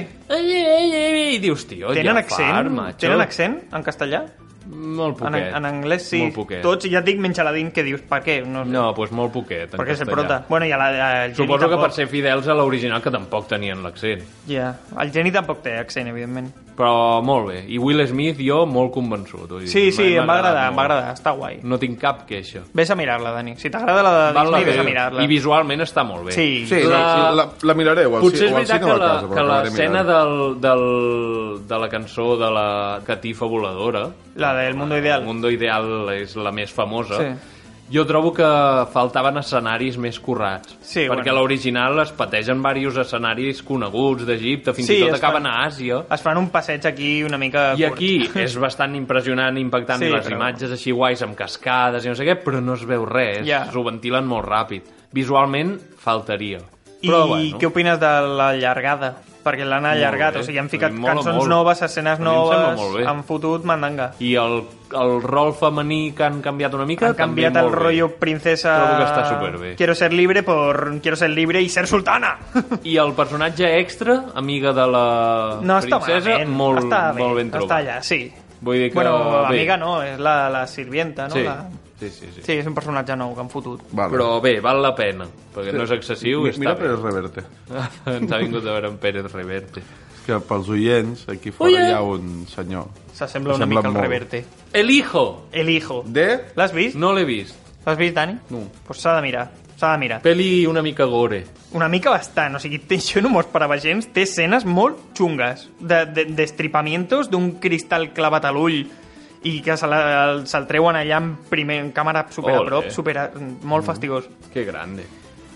I dius, tio, Tenen Jafar, accent? macho. Tenen accent en castellà? Molt En, poquet. en anglès sí. Molt poquet. Tots, ja et dic menys Aladdin, que dius, per què? No, No, doncs molt poquet. en perquè és el castellà. prota. Bueno, i a la, a, el Geni Suposo que tampoc. per ser fidels a l'original, que tampoc tenien l'accent. Ja, el Geni tampoc té accent, evidentment. Però molt bé. I Will Smith, jo, molt convençut. Vull dir, Sí, sí, m'ha em va agradar, agradat em molt. va agradar, està guai. No tinc cap queixa. Ves a mirar-la, Dani. Si t'agrada la de Val la Disney, ves a pena. mirar-la. I visualment està molt bé. Sí. Sí, la... No, sí, la, la mirareu al, Potser ci- és o al veritat cine o que a la- casa. però que l'acabaré l'escena mirant. del, del, de la cançó de la catifa voladora... La del Mundo Ideal. El Mundo Ideal és la més famosa. Sí. Jo trobo que faltaven escenaris més currats. Sí, perquè bueno. l'original es pategen diversos escenaris coneguts d'Egipte, fins Sí, i tot es acaben fan- a Àsia. Es fan un passeig aquí una mica I curt. aquí és bastant impressionant, impactant, Sí, sí, les però- però... imatges així guais amb cascades i no sé què, però no es veu res, Ja. s'ho ventilen molt ràpid. Visualment, faltaria. I Però, bueno, què opines de la llargada? Perquè l'han Molt allargat, bé. o sigui, han A ficat mi em mola cançons molt. noves, escenes A mi em sembla noves, molt bé. han fotut mandanga. I el, el rol femení que han canviat una mica... Han canviat també el molt bé. rotllo princesa... Trobo que està superbé. Quiero ser libre por... Quiero ser libre i ser sultana! I el personatge extra, amiga de la No està princesa, malament. molt, està bé, molt ben Està trobat. allà, sí. Vull dir que... Bueno, bé. amiga no, és la, la sirvienta, no? Sí. La... Sí, sí, sí. sí, és un personatge nou que han fotut. Vale. Però bé, val la pena, perquè Sí. no és excessiu Mi- i està mira bé. Pérez Reverte. Ens ha vingut a veure en Pérez Reverte. És que pels oients, aquí fora Oye. hi ha un senyor. S'assembla una S'assembla mica al molt. reverte. El hijo. El hijo. De? L'has vist? No l'he vist. L'has vist, Dani? No. Pues s'ha de mirar. S'ha de mirar. Peli una mica gore. Una mica bastant, o sigui, té, això no m'ho esperava gens, té escenes molt xungues, d'estripamientos de, d'estripamientos d'un cristal clavat a l'ull i que se'l se la- se'l treuen allà en, primer, en càmera super a Ole. Mm, prop, super a, molt fastigós. Que grande.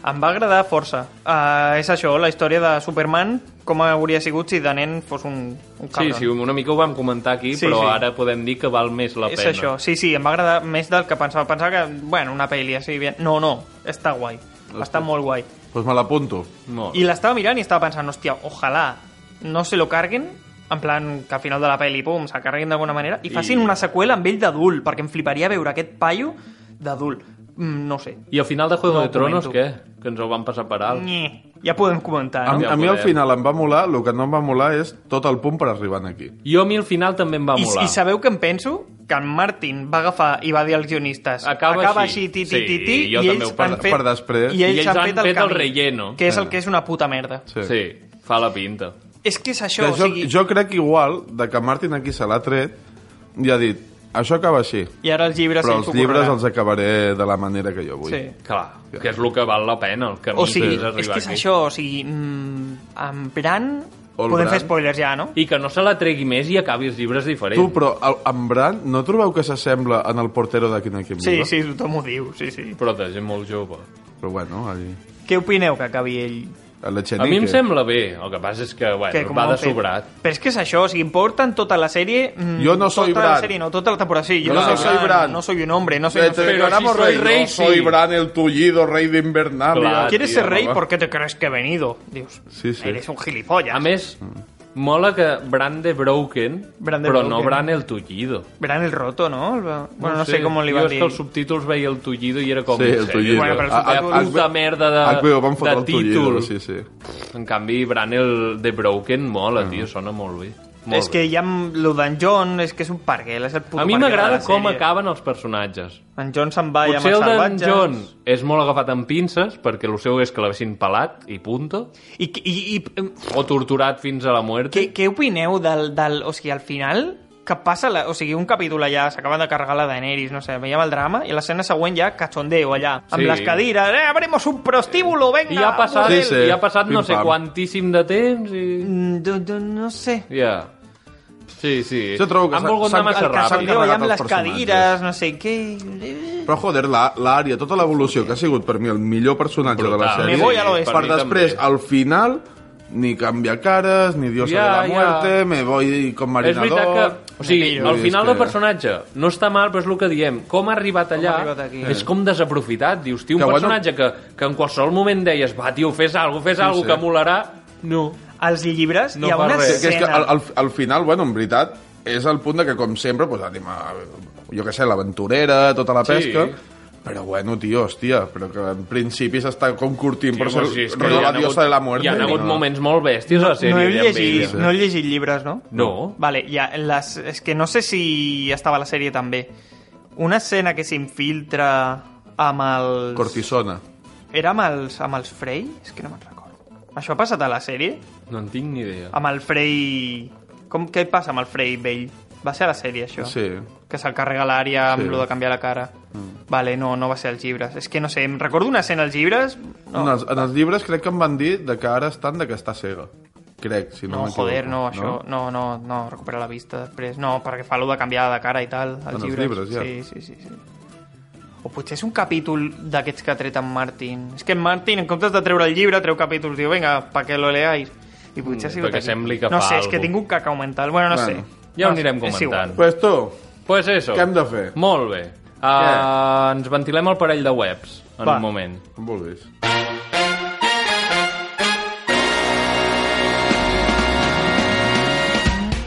Em va agradar força. Uh, és això, la història de Superman, com hauria sigut si de nen fos un, un Sí, cabron. sí, una mica ho vam comentar aquí, Sí, sí, però sí. sí. ara podem dir que val més la és pena. això, sí, sí, em va agradar més del que pensava. Pensava que, bueno, una pel·li així... Bien. No, no, està guai. Està molt guai. Doncs me l'apunto. Molt. I l'estava mirant i estava pensant, hòstia, ojalà no se lo carguen, en plan que al final de la pel·li, pum, se carreguen d'alguna manera, i facin I- una seqüela amb ell d'adult, perquè em fliparia veure aquest paio d'adult. Mm, no sé. I al final de Juego no, No de ho Tronos, comento. què? Que ens ho van passar per alt. Nye. Ja podem comentar, A, no? mi- a mi al final em va molar, el que no em va molar és tot el punt per arribar aquí. Jo a mi al final també em va I, molar. I sabeu què em penso? Que en Martin va agafar i va dir als guionistes Acaba així, així, ti, ti, sí, ti, ti, jo i també ells ho penso. han fet, Per després. i ells, han, fet el, el camí, relleno. Mm. que és el Sí. que és una puta merda Sí. sí, fa la pinta. és que és això, Però o jo, sigui, jo crec igual de que Martin aquí se l'ha tret i ha dit, això acaba així. i ara els llibres Però ells els s'ho llibres curraran. els acabaré de la manera que jo vull. Sí. Clar, que és el que val la pena, el camí O sigui, que és és arribar que és aquí. això, o sigui, mm, amb Bran O el podem Bran. fer spoilers ja, no? I que no se la tregui més i acabi els llibres diferents. Tu, però el, en Bran, no trobeu que s'assembla en el portero de Quina Quim Sí, sí, tothom ho diu, sí, sí. Però de gent molt jove. Però bueno, allí... Què opineu que acabi ell? A mi em sembla bé, el que passa és que, bueno, Que com va ho han de fet. sobrat. Però és que és això, o sigui, porten tota la sèrie... mm, Jo no soy tota Bran. La sèrie, no, tota la temporada, sí. Jo Yo no no soy Bran. No soy un hombre, no soy... no soy- no soy Bran el tullido, rey de Invernalia. ¿Quieres ser rey? ¿Por qué te crees que he venido? Dios, Sí, sí. eres un gilipollas. A més, Mola que Brande Broken, Brande però no Broken. Bran el Tullido. Verán el roto, ¿no? El va- Bueno, no sé, cómo le iba jo a és dir. que els subtítols veia el Tullido i era com... Sí, el "En sèrio? Tullido. Bueno, però els Ah, ah, subtítols... ah, Puta HBO merda de, HBO van fotre de el títol. Tullido, sí, sí. Pff, En canvi, Bran el The Broken mola, tio, sona molt bé. Molt és que ja amb lo d'en John és que és un parguel, és el puto A mi parguel de m'agrada la com sèrie. acaben els personatges. En John se'n va Potser ja el amb els d'en salvatges. John és molt agafat amb pinces, perquè el seu és que l'haguessin pelat i punto. I, i, i, o torturat fins a la muerte. Què, què opineu del, del... O sigui, al final que passa... La, o sigui, un capítol allà s'acaba de carregar la Daenerys, no sé, veiem el drama i l'escena següent ja cachondeo allà, amb Sí. les cadires, eh, abrimos un prostíbulo, venga! I ha passat, model". i ha passat no sé quantíssim de temps i... No, no, Mm, no sé. Ja. Sí, sí. Jo trobo que Han s'ha- volgut s'han- anar massa que s'han ràpid. carregat Allà amb els les personatges. cadires, no sé què... Però, joder, la- l'àrea, tota l'evolució que ha sigut per mi el millor personatge de la Brutal. sèrie. Me voy a lo este. Per després, al final, ni canvia cares, ni Diosa Ja, de la ja. muerte, me voy com És marinador... veritat que... O sigui, Vull al dir, final és del personatge no està mal, però és el que diem. Com ha arribat allà ha arribat aquí? és com desaprofitat. Dius, tio, un Que que bueno- personatge que, que en qualsevol moment deies va, tio, fes alguna fes Sí, algo sí. que molarà. No. Als llibres No hi ha fa una res. Que és que escena- al, al, al final, bueno, en veritat, és el punt de que, com sempre, pues, anem a, jo què sé, l'aventurera, tota la Sí. pesca... Però bueno, tio, hòstia, però que en principi s'està com curtint per ser Home, sí, és que rollo hi ha la diosa hagut- de la muerte. Hi ha hagut No. moments molt bèsties a la sèrie. eh. no, he ja em veia. llegit, no he llegit llibres, no? No. Vale, ja, les, és que no sé si estava a la sèrie també. Una escena que s'infiltra amb els... Cortisona. Era amb els, amb els Frey? És que no me'n recordo. Això ha passat a la sèrie? No en tinc ni idea. Amb el Frey... Com, què passa amb el Frey vell? Va ser a la sèrie, això? Sí. Que se'l carrega l'àrea amb Sí. lo de canviar la cara. Mm. Vale, no, no va ser als llibres. És que no sé, em recordo una escena als llibres... No. En, els, en els llibres crec que em van dir de que ara estan de que està cega. Crec, si no, No, m'equivoco. joder, no, això... No? no, no, no, recupera la vista després. No, perquè fa lo de canviar de cara i tal, En els als llibres. llibres, ja. Sí, sí, sí, sí. O potser és un capítol d'aquests que ha tret en Martin. És que en Martin, en comptes de treure el llibre, treu capítols, diu, vinga, pa que lo leáis. I potser ha sigut perquè aquí. sembli que No fa sé, és que algo. tinc un cacau mental. Bueno, no Bueno, sé. ja ho No, anirem és comentant. igual. Pues tu, Pues eso. Què hem de fer? Molt bé. Uh, ens ventilem el parell de webs en Va. un moment. Com vulguis.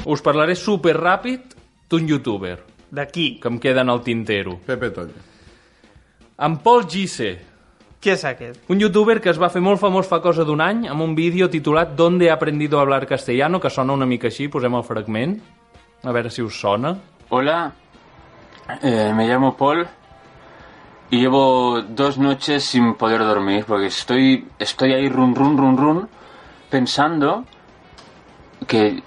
Us parlaré super ràpid d'un youtuber. De qui? Que em queda en el tintero. Pepe Toño. En Paul Gise. Qui és aquest? Un youtuber que es va fer molt famós fa cosa d'un any amb un vídeo titulat ¿Dónde he aprendido a hablar castellano? que sona una mica així, posem el fragment. A veure si us sona. Hola, eh, me llamo Paul y llevo dos noches sin poder dormir porque estoy, estoy ahí run, run, run, run pensando que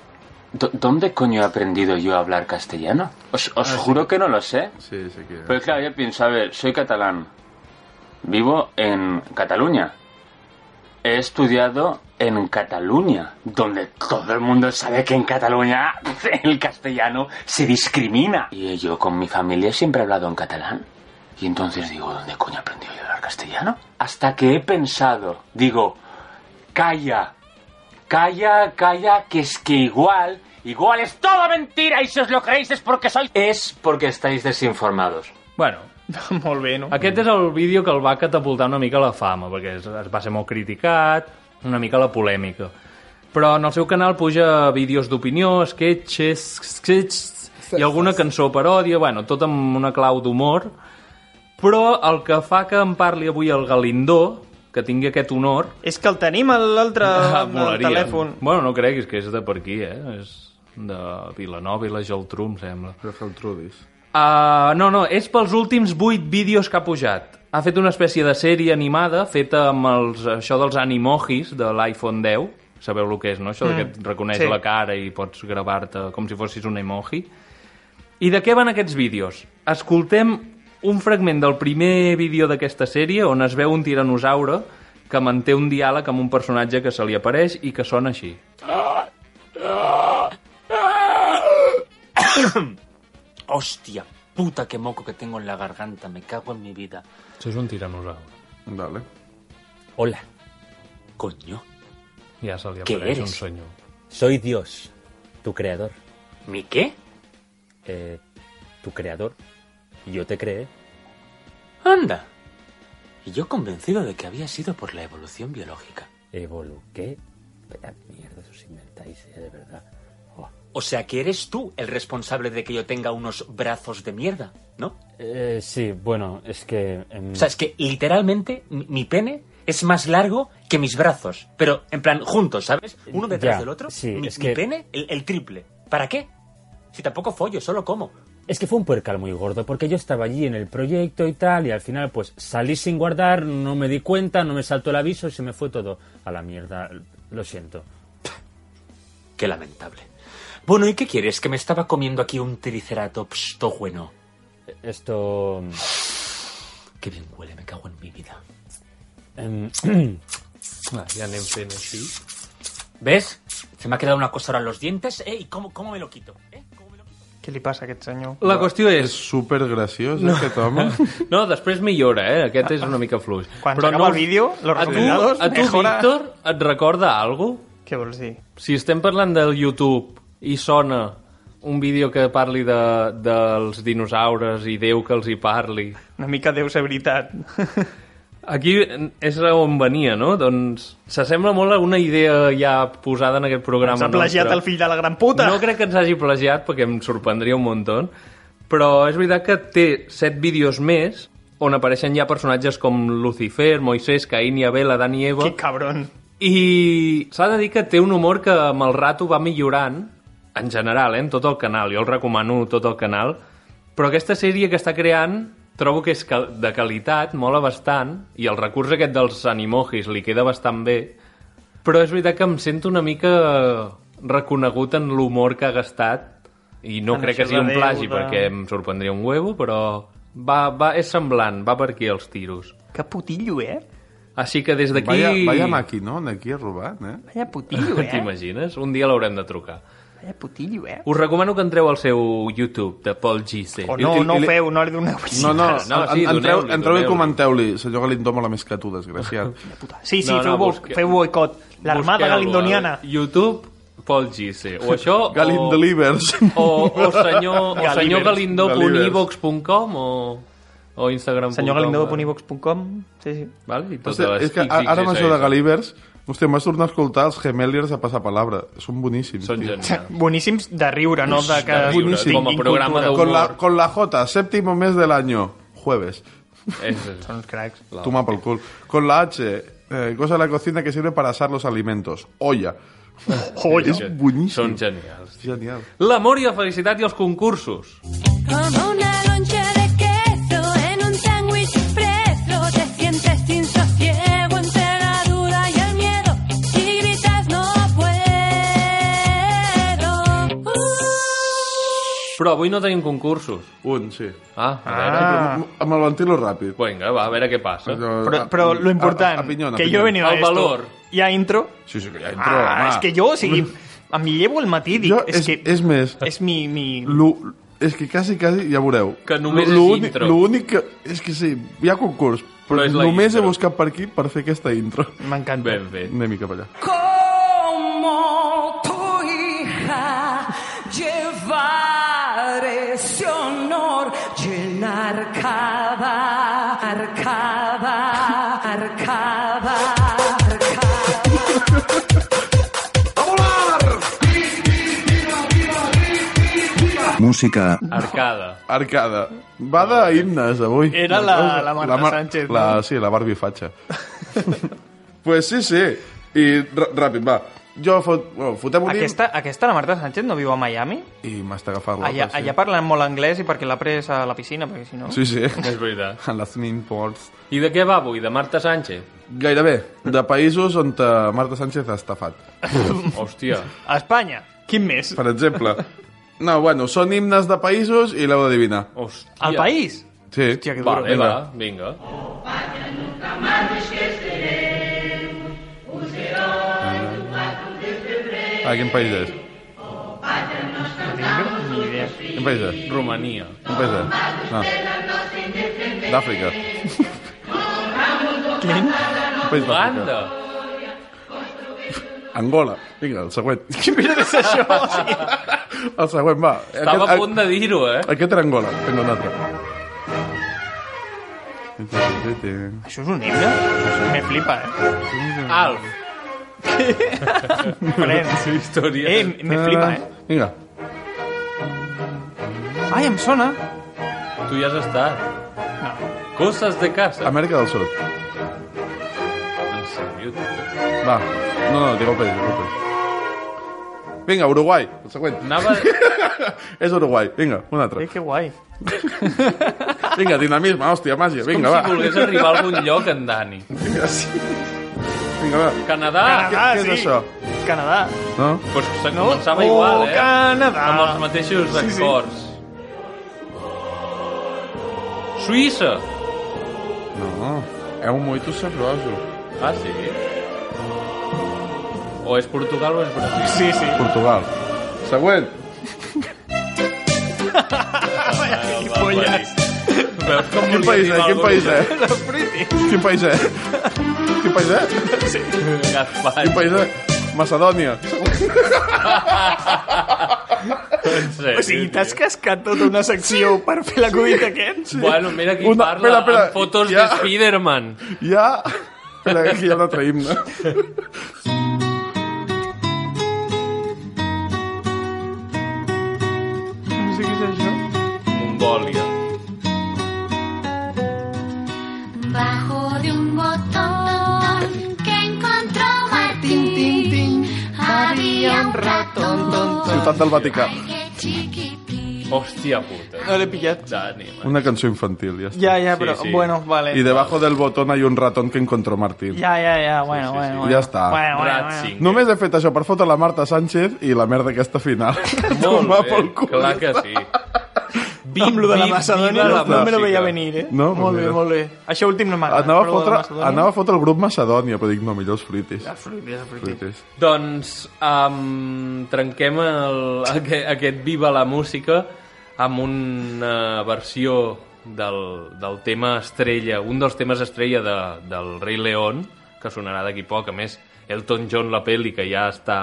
¿dó- ¿dónde coño he aprendido yo a hablar castellano? Os, os juro que no lo sé. Sí, eh. sí que... Pero claro, yo pienso, a ver, soy catalán, vivo en Cataluña, he estudiado en Cataluña, donde todo el mundo sabe que en Cataluña el castellano se discrimina. Y yo con mi familia siempre he hablado en catalán. Y entonces digo, ¿dónde coño aprendí yo a hablar castellano? Hasta que he pensado, digo, calla, Calla, calla, que es que igual, igual es todo mentira y si os lo creéis es porque sois... Es porque estáis desinformados. Bueno, Molt bé, no? Aquest és el vídeo que el va catapultar una mica a la fama, perquè es, es va ser molt criticat, una mica la polèmica. Però en el seu canal puja vídeos d'opinió, sketches, sketches i alguna cançó paròdia, bueno, tot amb una clau d'humor. Però el que fa que em parli avui el Galindó, que tingui aquest honor... És que el tenim a l'altre Ah, al volaria. telèfon. Bueno, no creguis que és de per aquí, eh? És de Vilanova i la Geltrú, em sembla. De Geltrudis. Uh, no, no, és pels últims 8 vídeos que ha pujat. Ha fet una espècie de sèrie animada feta amb els, això dels animojis de l'iPhone 10. Sabeu el que és, no? Això mm. Mm, que et reconeix sí. sí. la cara i pots gravar-te com si fossis un emoji. I de què van aquests vídeos? Escoltem un fragment del primer vídeo d'aquesta sèrie on es veu un tiranosaure que manté un diàleg amb un personatge que se li apareix i que sona així. Hostia, puta que moco que tengo en la garganta, me cago en mi vida. Això és un tiranosaure. Vale. Hola. Coño. Ja se li ¿Qué apareix un eres? senyor. Soy Dios, tu creador. ¿Mi qué? Eh, tu creador. Yo te creé. Anda. Y yo convencido de que había sido por la evolución biológica. ¿Evolu qué? Esperad, mierda, os inventáis, eh, de verdad. O sea que eres tú el responsable de que yo tenga unos brazos de mierda, ¿no? Eh, sí, bueno, es que... em, O sea, es que literalmente mi mi pene es más largo que mis brazos. Pero en plan, juntos, ¿sabes? Uno detrás Ya, del otro. sí, mi, es mi que- pene, el, el triple. ¿Para qué? Si tampoco follo, solo como. Es que fue un puercal muy gordo, porque yo estaba allí en el proyecto y tal, y al final pues salí sin guardar, no me di cuenta, no me saltó el aviso y se me fue todo a la mierda. Lo siento. Qué lamentable. Bueno, ¿y qué quieres? Que me estaba comiendo aquí un triceratops todo bueno. Esto... mm, Qué bien huele, me cago en mi vida. em, Ah, ja anem fent així. ¿Ves? Se me ha quedado una cosa ahora en los dientes. ¿eh? ¿Y cómo, cómo me lo quito? ¿Eh? Què li passa a aquest senyor? La qüestió és... Supergraciós, No. no. aquest home. No, després millora, eh? Aquest és una mica fluix. Quan s'acaba el vídeo, los a tu, resultados a tu mejora. Víctor, et recorda algo? Què vols dir? Si estem parlant del YouTube i sona un vídeo que parli de, dels dinosaures i Déu que els hi parli... Una mica deu ser veritat. Aquí és on venia, no? Doncs s'assembla molt a una idea ja posada en aquest programa Ens ha plagiat nostre. el fill de la gran puta. No crec que ens hagi plagiat perquè em sorprendria un muntó, però és veritat que té set vídeos més on apareixen ja personatges com Lucifer, Moisés, Caín i Abel, Adán i Eva. Que cabron. I s'ha de dir que té un humor que amb el rato va millorant, en general, eh, en tot el canal. Jo el recomano tot el canal. Però aquesta sèrie que està creant trobo que és cal- de qualitat, mola bastant, i el recurs aquest dels animojis li queda bastant bé, però és veritat que em sento una mica reconegut en l'humor que ha gastat i no En crec que això sigui de un Déu, plagi de- perquè em sorprendria un huevo, però va, va, és semblant, va per aquí els tiros. Que putillo, eh? Així que des d'aquí... Vaya, vaya maquinón aquí robant, eh? Vaya putillo, eh? T'imagines? Un dia l'haurem de trucar. Vaya putillo, eh? Us recomano que entreu al seu YouTube de Paul Gise. O no, no ho feu, no li doneu No, no, No, no sí, sí, entreu, doneu-li, entreu i doneu-li. comenteu-li. Senyor Galindo mola més que tu, desgraciat. Oh. Sí, sí, feu, bo- feu boicot. L'armada Busqueu-lo, galindoniana. eh? YouTube, Paul Gise. O això... Galindo o... Livers. O, o senyor, o senyor Galivers. galindo.ivox.com o, o instagram.com. eh? Senyorgalindo.ivox.com Sí, sí. Vale, i totes Hòstia, les és que a- XXS. ara amb això de Galivers, hòstia, m'has tornat a escoltar els Gemeliers a passar palabra. Són boníssims. Són genials. Boníssims de riure, no? De que tinguin cultura. Con la, con la J, séptimo mes del año, jueves. Són uns cracs. Toma por cul. Con la H, eh, cosa de la cocina que sirve para asar los alimentos. Olla. Joya. És boníssim. Són genials. Genial. L'amor i la felicitat i els concursos. Como una loncha de queso en un sándwich fresco te sientes sin sosiego entre la duda y el miedo y gritas no puedo. Uh. Però avui no tenim concursos. Un, sí. Ah, a Ah. veure. Amb el ventilo ràpid. Vinga, va, a veure què passa. Però, però lo important, que yo he venido Ah, a El esto. valor. ¿Y a intro? Sí, sí, que ya intro, Ah, home. es que yo, sí, a mi llevo el matí, dic, és, que... És més... És mi... mi... Lo, és que quasi, quasi, ja veureu. Que només Lo- lo és únic- intro. Lo únic que... És que sí, hi ha concurs, però, Però és la només he buscat per aquí per fer aquesta intro. M'encanta. Ben bé. Anem cap allà. Como tu hija llevaré ese honor, llenar cada arcada, arcada, Música. Arcada. Arcada. Va de himnes, avui. Era la- la Marta Mar- Sánchez, no? La, sí, la Barbie Fatxa. pues sí, sí. I r- ràpid, va. Jo fot... Bueno, fotem un himne Aquesta, aquesta, la Marta Sánchez, no viu a Miami? i m'has d'agafar la. Allà, allà parlen molt anglès i perquè l'ha pres a la piscina, perquè si no... Sí, sí. És veritat. En les Nin Ports. I de què va avui? De Marta Sánchez? Gairebé. De països on eh, Marta Sánchez ha estafat. Hòstia. A Espanya. Quin més? Per exemple. No, bueno, són himnes de països i l'heu d'adivinar. Hòstia. Al país? Sí. Hòstia, que Vale, Vinga. Oh. va, vinga. A Ah, quin país és? Ni idea. Quin país és? Romania. Quin país és? No. D'Àfrica. Quin? Uganda. Angola. Vinga, el següent. Mira, és això. El següent, va. Estava a punt de dir-ho, eh? Aquest era Angola. Vinga, un altre. Això és un himne? Me flipa, eh? Alf. Su historia. Eh, me flipa, eh. Ah, Vinga. Ai, em sona. Tu ja has estat. Coses de casa. Amèrica del Sud. En sèrio, tu. Va. No, no, Diego Pérez, Diego Pérez. Vinga, Uruguai. El següent. Anava... És Uruguai. Vinga, un altre. Eh, que guai. Vinga, dinamisme, hòstia, màgia. Vinga, Com va. si volgués arribar a algun lloc, en Dani. Vinga, sí. Vinga, va. Canadà. Canadà, Què- què és sí. això? Canadà. No? Pues se començava Oh, igual, eh? Canadà. Amb els mateixos Sí, sí. acords. Suïssa. No. É un muito sabroso. Ah, sí? O és Portugal o és Brasil. Sí, sí. Portugal. Següent. Polles. Veus com Quin volia país, dir eh? Quin alguna país, eh? cosa? Quin país, eh? Quin país, eh? Sí. Gaspar. Quin país, eh? Macedònia. O sigui, t'has cascat tota una secció sí. per fer l'acudit aquest? Bueno, mira qui Una- parla espera, espera. amb fotos Ja. de Spiderman. Ja... Espera, que aquí hi ha un altre himne. No sé què és això. Mongòlia. Bajo de un botón que encontró Martín había un ratón Ciutat del Vaticà. que chiquitito. Hòstia puta. No l'he pillat. Dani, Una cançó infantil, ja està. Ja, ja, però... Sí, sí. Bueno, vale. Y debajo del botón hay un ratón que encontró Martín. Ja, ja, ja, bueno, bueno, bueno. Ja està. Bueno, bueno, Ratzinger. Només he fet això per fotre la Marta Sánchez i la merda aquesta final. Molt va bé, pel cul. clar que sí. bueno. Amb lo de la Macedònia viva no, la no me lo música. veia venir, eh? No, pues molt bé, mira. molt bé. Això últim no m'agrada. Anava a, però lo de fotre, Macedònia- anava a fotre el grup Macedònia, però dic, no, millor els fruitis. Ah, fruitis, fruitis. Fruitis. Doncs um, trenquem el, aquest, aquest Viva la Música amb una versió del, del tema estrella, un dels temes estrella de, del Rei León, que sonarà d'aquí poc. A més, Elton John, la pel·li, que ja està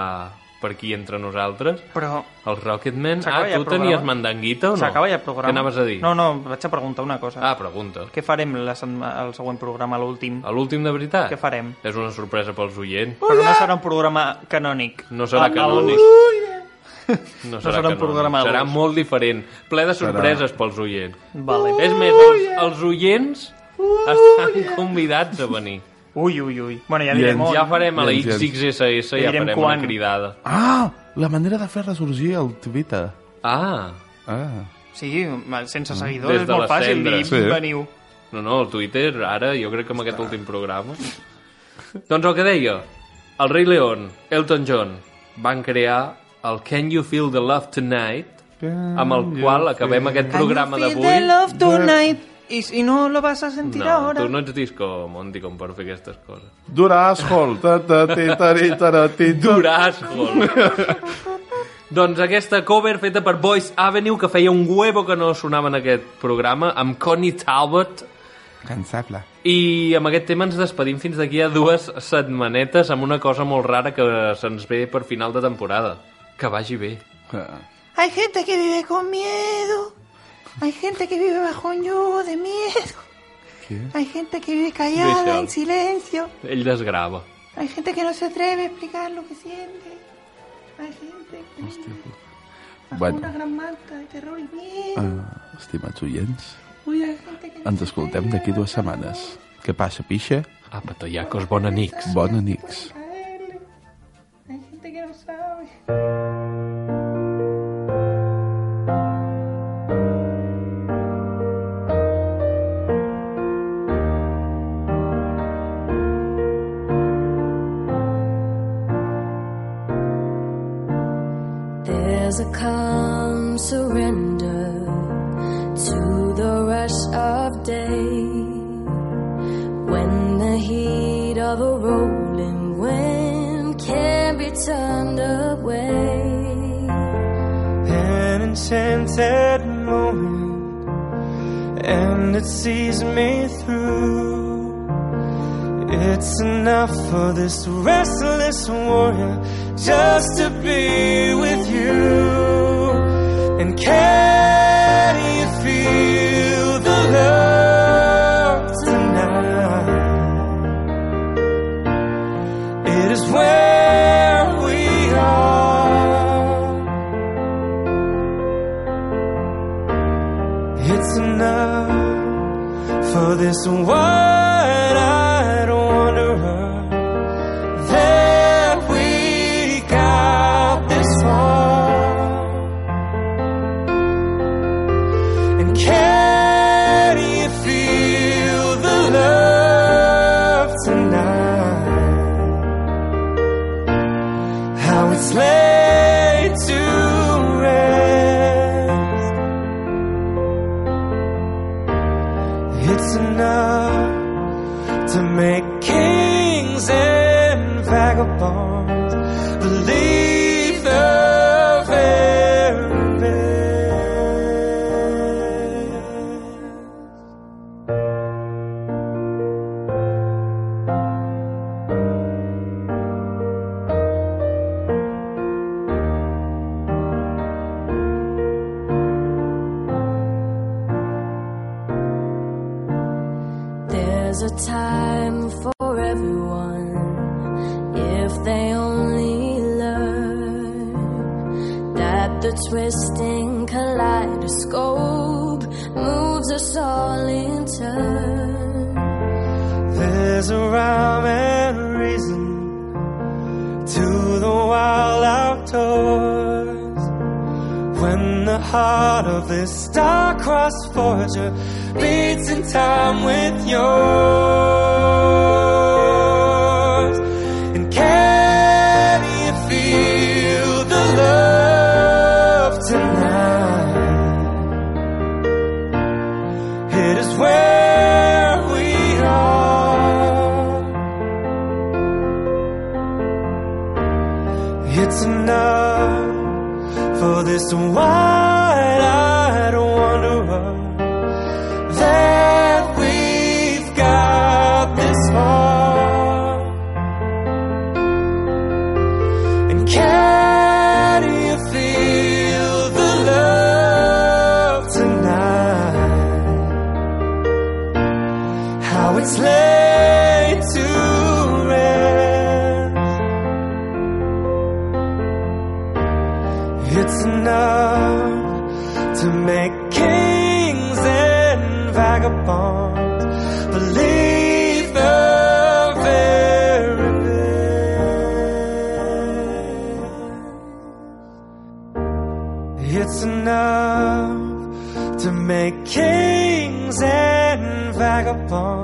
per aquí entre nosaltres. Però... Els Rocketman... Ah, S'acaba ja tu el programa? tenies mandanguita o no? S'acaba ja el programa. Què anaves a dir? No, no, vaig a preguntar una cosa. Ah, pregunta. Què farem la setma, el següent programa, l'últim? A l'últim de veritat? Què farem? És una sorpresa pels oients. Però no serà un programa canònic. No serà El- canònic. No serà, serà un canònic. programa Serà d'adults. molt diferent. Ple de sorpreses pels oients. Vale. Oh, És més, els, els oients Oh, estan convidats a venir. Ui, ui, ui. Bueno, ja I direm ens- on. Ja farem a la I ens- XXSS, ja Direm farem quan. una cridada. Ah, la manera de fer ressorgir el Twitter. Ah, Ah. Sí, sense seguidors Mm. Des és de molt les fàcil dir cendres. sí. Sí. veniu. no, no, el Twitter, ara, jo crec que amb aquest últim programa... Doncs el que deia, el rei León, Elton John, van crear el Can You Feel the Love Tonight, amb el qual acabem aquest programa d'avui. love tonight i si no lo vas a sentir No, tu no ets disco, Monti, com per fer aquestes coses. Durashol. Ta -ta -ti -ta -ri -ta -ra -ti -tu. Durashol. doncs aquesta cover feta per Boys Avenue, que feia un huevo que no sonava en aquest programa, amb Connie Talbot, Cansable. i amb aquest tema ens despedim fins d'aquí a dues setmanetes amb una cosa molt rara que Eh, se'ns ve per final de temporada. Que vagi bé. Ah, Hay gente que vive con miedo. Hay gente que vive bajo un yugo de miedo. Hay gente que vive callada, Deixa'l. en silencio. Ell desgrava. Hay gente que no se atreve a explicar lo que siente. Hay gente que vive bajo Bueno. una gran manta de terror y miedo. Ah, estimats oients, Uy, hay gente que no ens escoltem d'aquí dues setmanes. Què passa, pixa? Apa, toiacos, bona nix. Bona nix. caerle. Hay gente que no sabe. There's a calm surrender to the rush of day when the heat of a rolling wind can be turned away. an enchanted moment, and it sees me through. It's enough for this restless warrior just to be with you. And can you feel the love tonight? It is when It's a wide-eyed wanderer that we got this far. And can you feel the love tonight? How it's laid to rest. It's enough to make kings and vagabonds believe the very best. There's a time for everyone if they only learn that the twisting kaleidoscope moves us all in turn. There's a rhyme and reason to the wild outdoors. When the heart of this star-crossed forger beats in time with yours, and can you feel the love tonight? It is where we are. It's enough for this wide-eyed wanderer that we've got this far. And can you feel the love tonight? how it's laid to rest. It's enough to make kings and vagabonds believe the very best. It's enough to make kings and vagabonds.